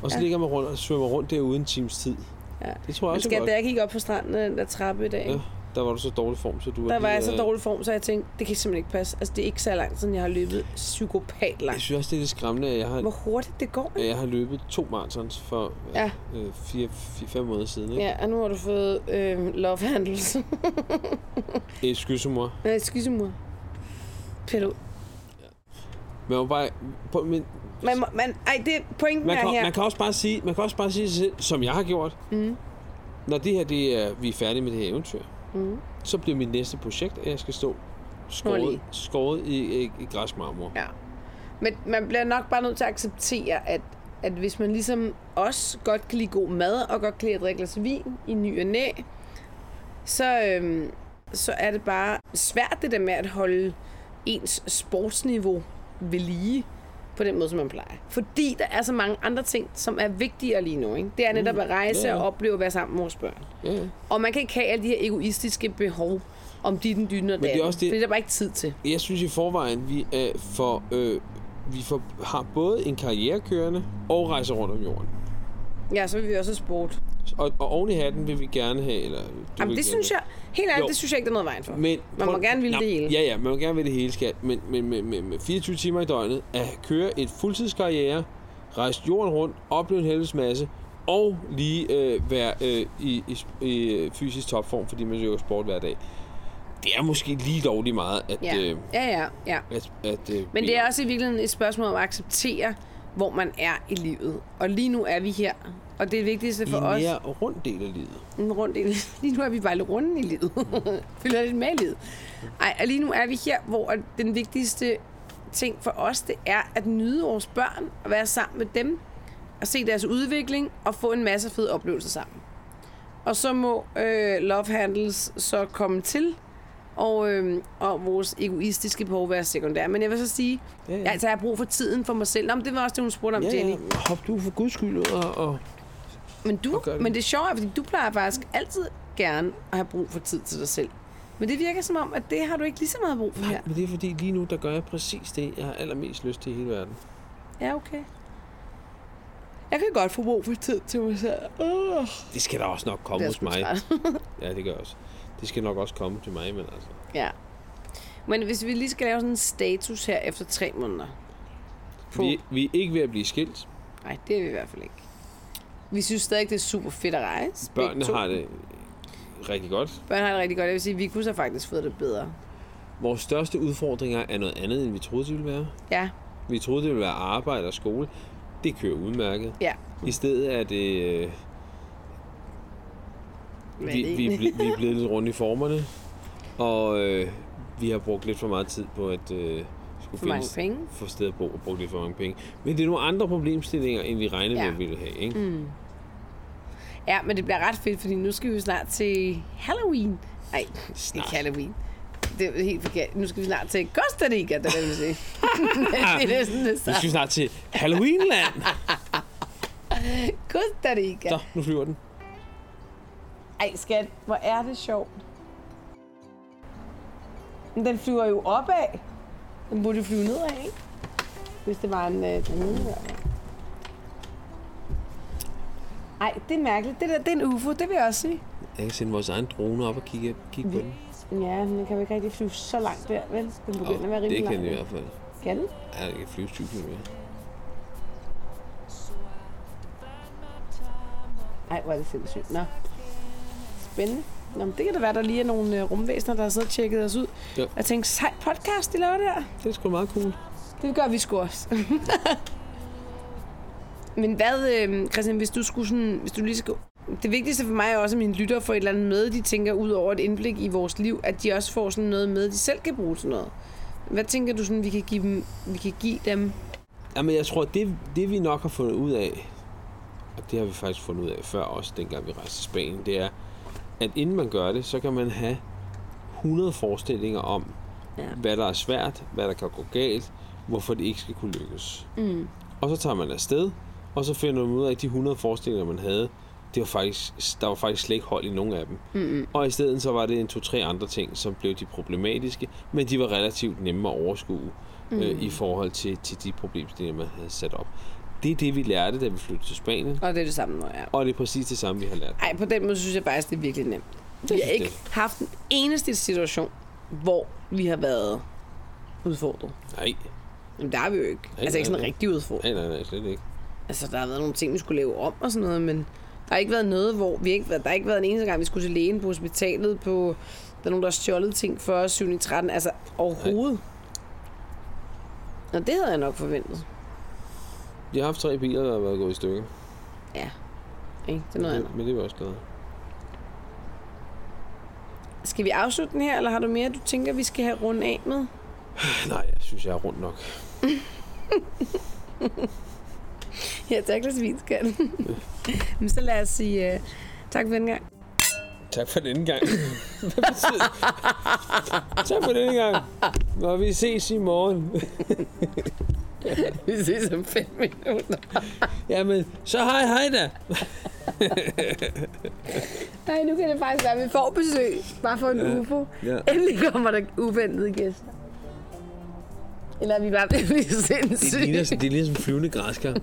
Og så Ja. ligger man rundt og svømmer rundt derude en times tid. Ja. Det tror jeg Men også skat, er godt. da jeg gik op på stranden af den der trappe i dag, Ja, der var du så dårlig form, så du der var lige, jeg så øh, dårlig form, så jeg tænkte, det kan simpelthen ikke passe. Altså, det er ikke så langt, siden jeg har løbet psykopat Jeg langt. synes også, det er lidt skræmmende, at jeg har, Hvor hurtigt det går, at ikke? jeg har løbet to marathons for Ja. øh, fire, fire, fem måneder siden. Ikke? Ja, og nu har du fået øh, love handles. Ja. Skysomor. Nej, skissemor. Pilot. Man, må bare, på, men, Man, må- man, ej, det pointen man, er kan, her. man, kan også bare sige, man kan også bare sige sig selv, som jeg har gjort, mm. når det her, det er, vi er færdige med det her eventyr, mm. så bliver mit næste projekt, at jeg skal stå skåret, Snorlige. skåret i, i, i græsmarmor. Ja. Men man bliver nok bare nødt til at acceptere, at, at hvis man ligesom os godt kan lide god mad, og godt kan lide at drikke glas vin i ny og næ, så, øhm, så er det bare svært det der med at holde ens sportsniveau ved lige på den måde, som man plejer. Fordi der er så mange andre ting, som er vigtigere lige nu. Ikke? Det er netop at rejse Mm. ja, ja. og opleve at være sammen med vores børn. Ja, ja. Og man kan ikke have alle de her egoistiske behov om dit, den dyne og det er datten, også det- fordi der er bare ikke tid til. Jeg synes i forvejen, vi er for, øh, vi for, har både en karriere kørende og rejser rundt om jorden. Ja, så vil vi også have sport. Og, og oven i hatten vil vi gerne have, eller... du Jamen, det vil gerne synes have. jeg, helt ærligt, Jo. det synes jeg ikke, der er noget i vejen for. Men, man må prøv- gerne ville Nå, det hele. Ja, ja, man må gerne ville det hele, skat. Men, men, men, men, men 24 timer i døgnet, at køre et fuldtidskarriere, rejse jorden rundt, opleve en helvedes masse, og lige øh, være øh, i, i, i øh, fysisk topform, fordi man jo sport hver dag. Det er måske lige lovligt meget, at... Ja, Øh, ja, ja. ja. at, at øh, Men bede det om. er også i virkeligheden et spørgsmål om at acceptere, hvor man er i livet. Og lige nu er vi her. Og det vigtigste I for en os... mere rund del af livet. en rundt i livet. Lige nu er vi bare lidt runde i livet. Følger lidt med i livet. Ej, og lige nu er vi her, hvor at den vigtigste ting for os, det er at nyde vores børn og være sammen med dem og se deres udvikling og få en masse fede oplevelser sammen. Og så må øh, Love Handles så komme til, og, øh, og vores egoistiske behov være sekundære. Men jeg vil så sige, Ja, ja. ja, altså, jeg har brug for tiden for mig selv. Nå, men det var også det, hun spurgte om, Ja, Jenny. ja. Hop du for guds skyld ud og, og Men, du, Og gør det. men det er sjovt, fordi du plejer faktisk altid gerne at have brug for tid til dig selv. Men det virker som om, at det har du ikke lige så meget brug for her. Men det er fordi, lige nu, der gør jeg præcis det, jeg har allermest lyst til i hele verden. Ja, okay. Jeg kan godt få brug for tid til mig selv. Uh. Det skal da også nok komme Det er hos sgu mig. træt. Ja, det gør jeg også. Det skal nok også komme til mig, men altså... Ja. Men hvis vi lige skal lave sådan en status her efter tre måneder. På. Vi, vi er ikke ved at blive skilt. Nej, det er vi i hvert fald ikke. Vi synes stadig, det er super fedt at rejse. begge Børnene to. har det rigtig godt. Børn har det rigtig godt. Jeg vil sige, vi kunne så faktisk fået det bedre. Vores største udfordringer er noget andet, end vi troede, det ville være. Ja, Vi troede, det ville være arbejde og skole. Det kører udmærket. ja. I stedet er det... Øh, Hvad er vi, det vi, er egentlig? ble, vi er blevet lidt rundt i formerne. Og øh, vi har brugt lidt for meget tid på at... Øh, skulle For mange finde- penge. få sted at bo og brugt lidt for mange penge. Men det er nogle andre problemstillinger, end vi regnede ja. med, Ja. at vi ville have. Ikke? Mm. Ja, men det bliver ret fedt, fordi nu skal vi jo snart til Halloween. Nej, Snart. ikke Halloween. Det er helt forkert. Nu skal vi snart til Costa Rica, det vil jeg sige. Ah. det er næsten det Nu skal vi samme. snart til Halloweenland. Costa Rica. Så, nu flyver den. Ej, skat, hvor er det sjovt. Men den flyver jo opad. Den burde jo flyve nedad, ikke? Hvis det var en øh, drone. eller hvad. Ej, det er mærkeligt. Det der, det er en UFO, det vil jeg også sige. Jeg kan sende vores egen drone op og kigge, kigge på den. Ja, men den kan jo ikke rigtig flyve så langt der, vel? Den begynder at være det rimelig kan den i langt. hvert fald. Kan den? Ja, det kan flyve 20 km. Ej, hvor er det sindssygt. Nå. Spændende. Nå, men det kan da være, der lige er nogle øh, rumvæsener, der har siddet og tjekket os ud. Ja. Og tænkt, sej podcast, de laver der. Det er sgu meget cool. Det gør vi sgu også. Men hvad, øhm, Christian, hvis du skulle sådan, hvis du lige skulle... Det vigtigste for mig er også, at mine lyttere får et eller andet med, de tænker ud over et indblik i vores liv, at de også får sådan noget med, de selv kan bruge til noget. Hvad tænker du sådan, vi kan give dem, vi kan give dem? Jamen, jeg tror, det, det vi nok har fundet ud af, og det har vi faktisk fundet ud af før også, dengang vi rejste til Spanien, det er, at inden man gør det, så kan man have 100 forestillinger om, Ja. hvad der er svært, hvad der kan gå galt, hvorfor det ikke skal kunne lykkes. Mm. Og så tager man afsted, og så finder man ud af, at de 100 forestillinger, man havde, det var faktisk, der var faktisk slet ikke hold i nogen af dem. Mm-hmm. Og i stedet så var det en to-tre andre ting, som blev de problematiske, men de var relativt nemme at overskue mm. øh, i forhold til, til de problemstillinger, man havde sat op. Det er det, vi lærte, da vi flyttede til Spanien, Og det er det samme, når jeg og det er præcis det samme, vi har lært. Ej, på den måde synes jeg faktisk, det er virkelig nemt. Vi synes har jeg. ikke haft en eneste situation, hvor vi har været udfordret. Nej, Jamen, der er vi jo ikke. altså nej, ikke sådan nej. rigtig udfordret. nej, nej, nej slet ikke. Altså, der har været nogle ting, vi skulle lave om og sådan noget, men der har ikke været noget, hvor vi ikke... Der har ikke været en eneste gang, vi skulle til lægen på hospitalet på... Der er nogen, der har stjålet ting for os, 7. 13. Altså, overhovedet. Nå, det havde jeg nok forventet. Jeg har haft tre biler, der har været gået i stykker. Ikke? Det er noget andet. Men det var også glad. Skal vi afslutte den her, eller har du mere, du tænker, vi skal have rundt af med? Nej, jeg synes, jeg er rundt nok. Ja, tak, Lars Vinskat. Men så lad os sige uh, tak for den gang. Tak for denne gang. Hvad betyder det? tak for denne gang. Når vi ses i morgen. Vi ses om fem minutter. Jamen, så hej hej da. Nej, nu kan det faktisk være, at vi får besøg. Bare for en ja. ufo. Ja. Endelig kommer der uventede gæster. Eller er vi bare bliver blive Det ligner, sindssyge. det er ligesom flyvende græskar.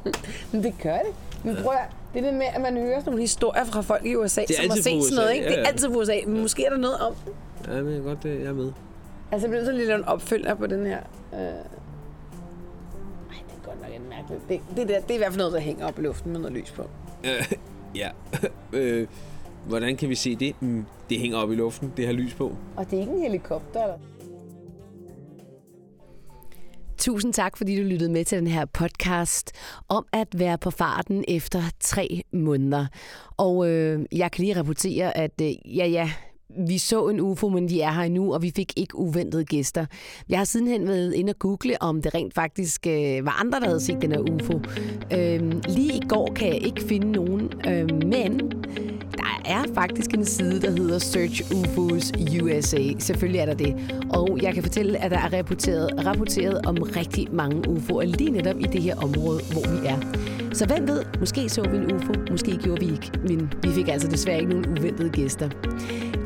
Men det gør det. Men prøv at, høre, det der med, at man hører sådan nogle historier fra folk i USA, er som har altid fra set sådan USA, noget, ikke? Det ja, er ja. altid fra USA. Men måske er der noget om det. Ja, men jeg er godt, øh, jeg er med. Altså, jeg bliver nødt til lige at lave en opfølger på den her. Øh... Ej, det er godt nok en mærkelig... Det, det, der, det er i hvert fald noget, der hænger op i luften med noget lys på. Øh, ja. øh, hvordan kan vi se det? Mm, det hænger op i luften. Det har lys på. Og det er ikke en helikopter, eller? Tusind tak, fordi du lyttede med til den her podcast om at være på farten efter tre måneder. Og øh, jeg kan lige rapportere, at øh, ja, ja, vi så en UFO, men de er her endnu, og vi fik ikke uventede gæster. Jeg har sidenhen været inde og google, om det rent faktisk øh, var andre, der havde set den her UFO. Øh, lige i går kan jeg ikke finde nogen, øh, men der er faktisk en side, der hedder Search UFOs USA. Selvfølgelig er der det. Og jeg kan fortælle, at der er rapporteret, rapporteret om rigtig mange UFO'er lige netop i det her område, hvor vi er. Så hvem ved, måske så vi en UFO, måske gjorde vi ikke. Men vi fik altså desværre ikke nogen uventede gæster.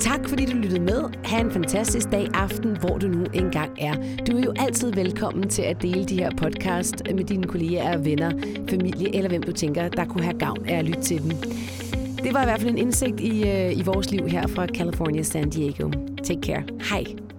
Tak fordi du lyttede med. Ha' en fantastisk dag, aften, hvor du nu engang er. Du er jo altid velkommen til at dele de her podcast med dine kolleger og venner, familie eller hvem du tænker, der kunne have gavn af at lytte til dem. Det var i hvert fald en indsigt i, øh, i vores liv her fra California San Diego. Take care. Hej.